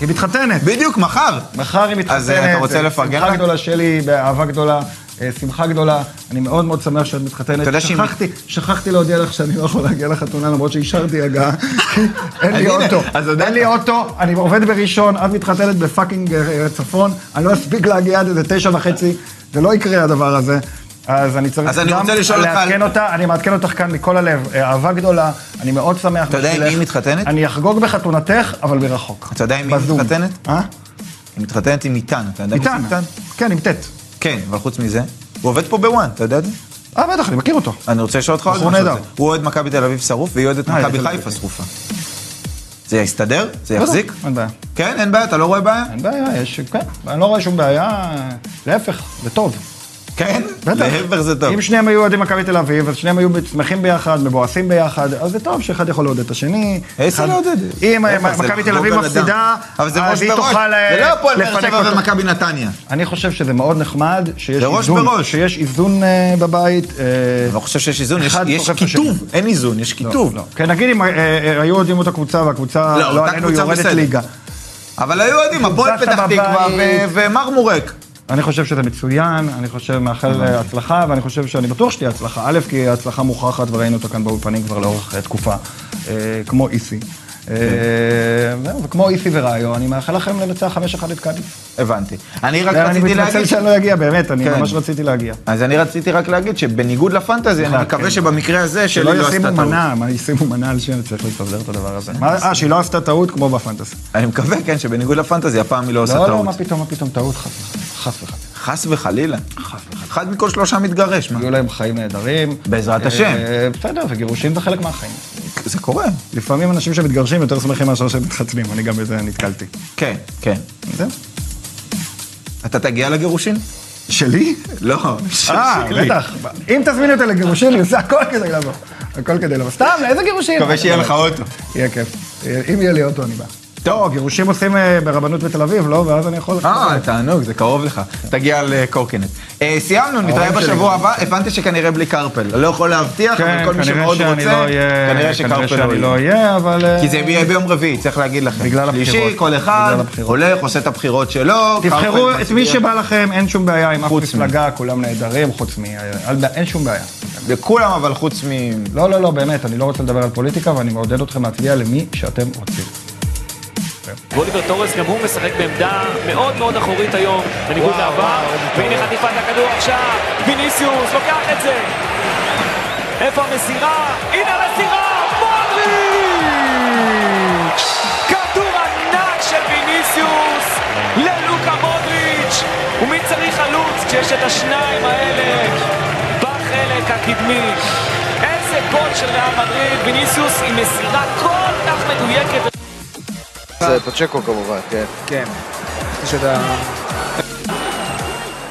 [SPEAKER 2] היא מתחתנת.
[SPEAKER 1] בדיוק, מחר.
[SPEAKER 2] מחר היא מתחתנת.
[SPEAKER 1] אז, אה, אתה רוצה
[SPEAKER 2] זה
[SPEAKER 1] לפרגן לה?
[SPEAKER 2] שמחה גדולה שלי, באהבה גדולה, אה, שמחה גדולה. אני מאוד מאוד שמח שאת מתחתנת.
[SPEAKER 1] אתה יודע שהיא-
[SPEAKER 2] שכחתי, שכחתי להודיע לך שאני לא יכול להגיע לחתונה, למרות שאישרתי הגעה. כי אין לי
[SPEAKER 1] אז הנה,
[SPEAKER 2] אוטו.
[SPEAKER 1] אז הודעת.
[SPEAKER 2] אין לי אוטו, אני עובד בראשון, את מתחתנת בפאקינג אה, צפון, אני לא אספיק להגיע עד איזה תשע וחצי, זה לא יקרה הדבר הזה. אז אני צריך
[SPEAKER 1] אז אני
[SPEAKER 2] גם
[SPEAKER 1] רוצה לשאול אותך על-
[SPEAKER 2] לעדכן אותה, אני מעדכן אותך כאן מכל הלב, אה, אהבה גדולה, אני מאוד שמח.
[SPEAKER 1] אתה יודע עם
[SPEAKER 2] בשבילך.
[SPEAKER 1] מי היא מתחתנת?
[SPEAKER 2] אני אחגוג בחתונתך, אבל מרחוק.
[SPEAKER 1] אתה יודע עם מי היא
[SPEAKER 2] בזום.
[SPEAKER 1] מתחתנת?
[SPEAKER 2] אה?
[SPEAKER 1] היא מתחתנת עם איתן, אתה יודע? מי זה
[SPEAKER 2] איתן, כן, עם ט'.
[SPEAKER 1] כן, אבל חוץ מזה, הוא עובד פה בוואן, אתה יודע את זה?
[SPEAKER 2] אה, בטח, אני מכיר אותו.
[SPEAKER 1] אני רוצה לשאול אותך עוד
[SPEAKER 2] בחור
[SPEAKER 1] משהו. על
[SPEAKER 2] נהדר.
[SPEAKER 1] זה. הוא אוהד מכבי תל אביב שרוף, והיא אוהדת
[SPEAKER 2] אה,
[SPEAKER 1] מכבי
[SPEAKER 2] תל
[SPEAKER 1] חיפה שרופה. זה יסתדר? זה
[SPEAKER 2] בטח,
[SPEAKER 1] יחזיק?
[SPEAKER 2] אין בעיה.
[SPEAKER 1] כן, אין בעיה, אתה לא רואה בעיה?
[SPEAKER 2] אין בעיה, יש, כן, אני לא רואה שום בעיה, להפך, זה טוב.
[SPEAKER 1] כן?
[SPEAKER 2] בטח.
[SPEAKER 1] להפך זה טוב.
[SPEAKER 2] אם שניהם היו אוהדים מכבי תל אביב, אז שניהם היו שמחים ביחד, מבואסים ביחד, אז זה טוב שאחד יכול לעודד את השני.
[SPEAKER 1] איזה
[SPEAKER 2] אחד-
[SPEAKER 1] לעודד?
[SPEAKER 2] אם אה,
[SPEAKER 1] להפך, זה
[SPEAKER 2] מכבי תל
[SPEAKER 1] לחגוג
[SPEAKER 2] אביב
[SPEAKER 1] על אדם.
[SPEAKER 2] מפסידה,
[SPEAKER 1] אבל זה ראש
[SPEAKER 2] אז היא
[SPEAKER 1] בראש.
[SPEAKER 2] תוכל אה,
[SPEAKER 1] זה לא הפועל באר
[SPEAKER 2] לפנק
[SPEAKER 1] שבע
[SPEAKER 2] אותו.
[SPEAKER 1] ומכבי נתניה.
[SPEAKER 2] אני חושב שזה מאוד נחמד, שיש
[SPEAKER 1] זה ראש
[SPEAKER 2] איזון,
[SPEAKER 1] בראש.
[SPEAKER 2] שיש איזון אה, בבית. אה,
[SPEAKER 1] אני לא חושב שיש איזון, יש-
[SPEAKER 2] אחד
[SPEAKER 1] יש
[SPEAKER 2] דוחף לשני.
[SPEAKER 1] קיטוב, אין איזון, יש קיטוב.
[SPEAKER 2] לא. כן, נגיד אם אה, אה, היו אוהדים אותה קבוצה והקבוצה,
[SPEAKER 1] לא, אותה
[SPEAKER 2] לא עלינו,
[SPEAKER 1] קבוצה
[SPEAKER 2] יורדת
[SPEAKER 1] בסדר.
[SPEAKER 2] ליגה.
[SPEAKER 1] אבל היו אוהדים, הפועל
[SPEAKER 2] ניצחת
[SPEAKER 1] פתח תקווה
[SPEAKER 2] בבית.
[SPEAKER 1] ו- ומרמורק.
[SPEAKER 2] אני חושב שזה מצוין, אני חושב, מאחל אה, הצלחה, ואני חושב שאני בטוח שתהיה הצלחה. א', כי הצלחה מוכחת, וראינו אותה כאן באולפנים כבר לאורך אה, תקופה, אה, כמו איסי. אה, זהו, וכמו איסי וראיו, אני מאחל לכם לנצח 5-1 את קאדיס.
[SPEAKER 1] הבנתי. אני רק
[SPEAKER 2] אני
[SPEAKER 1] רציתי
[SPEAKER 2] מתנצל
[SPEAKER 1] להגיד...
[SPEAKER 2] שאני לא אגיע, באמת, אני
[SPEAKER 1] כן.
[SPEAKER 2] ממש רציתי להגיע.
[SPEAKER 1] אז אני רציתי רק להגיד שבניגוד לפנטזי, אני
[SPEAKER 2] אה,
[SPEAKER 1] מקווה
[SPEAKER 2] כן.
[SPEAKER 1] שבמקרה הזה שלי
[SPEAKER 2] שלא
[SPEAKER 1] לא עשתה
[SPEAKER 2] ישימו
[SPEAKER 1] טעות.
[SPEAKER 2] מנה, מה ישימו מנה על שם, צריך לסדר את הדבר הזה. מה- אה, שהיא לא עשתה טעות כמו בפנטסי.
[SPEAKER 1] אני מקווה, כן, שבניגוד לפנטזי, הפעם היא לא עושה
[SPEAKER 2] לא, לא,
[SPEAKER 1] טעות.
[SPEAKER 2] מה פתאום, מה פתאום, טעות, חס וחלילה. חס וחלילה.
[SPEAKER 1] חס וחלילה. אחד מכל שלושה מתגרש, מה?
[SPEAKER 2] יהיו להם חיים נהדרים.
[SPEAKER 1] בעזרת
[SPEAKER 2] אה,
[SPEAKER 1] השם.
[SPEAKER 2] בסדר, וגירושים זה חלק מהחיים.
[SPEAKER 1] זה קורה.
[SPEAKER 2] לפעמים אנשים שמתגרשים יותר שמחים מאשר שהם מתחתנים, אני גם בזה נתקלתי.
[SPEAKER 1] כן, כן.
[SPEAKER 2] זהו.
[SPEAKER 1] אתה תגיע לגירושין?
[SPEAKER 2] שלי?
[SPEAKER 1] לא.
[SPEAKER 2] אה,
[SPEAKER 1] שלי.
[SPEAKER 2] בטח. אם תזמינו אותי לגירושין, אני עושה הכל כדי לבוא. הכל כדי לבוא. סתם, לאיזה גירושין?
[SPEAKER 1] מקווה שיהיה לך אוטו.
[SPEAKER 2] יהיה כיף. אה, אם יהיה לי אוטו, אני בא.
[SPEAKER 1] טוב.
[SPEAKER 2] טוב, גירושים עושים אה, ברבנות בתל אביב, לא? ואז אני יכול...
[SPEAKER 1] אה, תענוג, זה קרוב לך. תגיע לקורקינט. אה, סיימנו, נתראה
[SPEAKER 2] ההורים שלי
[SPEAKER 1] בשבוע
[SPEAKER 2] גם.
[SPEAKER 1] הבא. הבנתי שכנראה בלי קרפל. לא יכול להבטיח,
[SPEAKER 2] כן,
[SPEAKER 1] אבל כל מי שמאוד רוצה,
[SPEAKER 2] לא
[SPEAKER 1] כנראה שקרפל לא יהיה.
[SPEAKER 2] אהיה, אבל... אה,
[SPEAKER 1] כי זה יהיה ביום רביעי, צריך להגיד לכם.
[SPEAKER 2] בגלל
[SPEAKER 1] שלישי,
[SPEAKER 2] הבחירות.
[SPEAKER 1] כל אחד
[SPEAKER 2] בגלל הבחירות.
[SPEAKER 1] הולך, עושה את הבחירות שלו.
[SPEAKER 2] תבחרו
[SPEAKER 1] קרפל
[SPEAKER 2] את מי
[SPEAKER 1] מצביע.
[SPEAKER 2] שבא לכם, אין שום בעיה עם אף
[SPEAKER 1] חוץ
[SPEAKER 2] מפלגה, כולם נהדרים, חוץ מ... אל- אין שום בעיה.
[SPEAKER 1] לכולם, אבל חוץ מ...
[SPEAKER 2] לא, לא, לא, באמת, אני לא רוצה לדבר על פוליטיקה, ואני מעודד אתכם להצביע למי שאתם רוצים.
[SPEAKER 3] ואוליבר טורס גם הוא משחק בעמדה מאוד מאוד אחורית היום, בניגוד לעבר, והנה חטיפת הכדור עכשיו, ויניסיוס לוקח את זה! איפה המסירה? הנה המסירה! מודריץ'! כדור ענק של ויניסיוס ללוקה מודריץ'! ומי צריך חלוץ כשיש את השניים האלה בחלק הקדמי? איזה גול של ריאל מדריד, ויניסיוס עם מסירה כל כך מדויקת
[SPEAKER 4] זה פצ'קו כמובן, כן.
[SPEAKER 5] כן. יש את ה...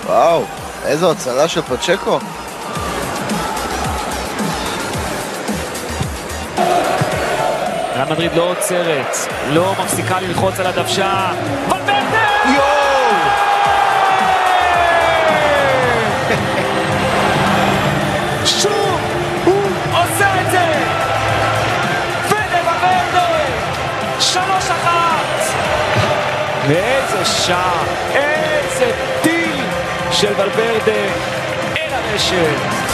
[SPEAKER 4] וואו, איזו הצלה של פצ'קו.
[SPEAKER 3] ריאל מדריד לא עוצרת, לא מפסיקה ללחוץ על הדוושה. ולברדה! שוב הוא עושה את זה! ולברדה! שלוש אחת! ואיזה שער, איזה טיל של ולברדה אל הרשת.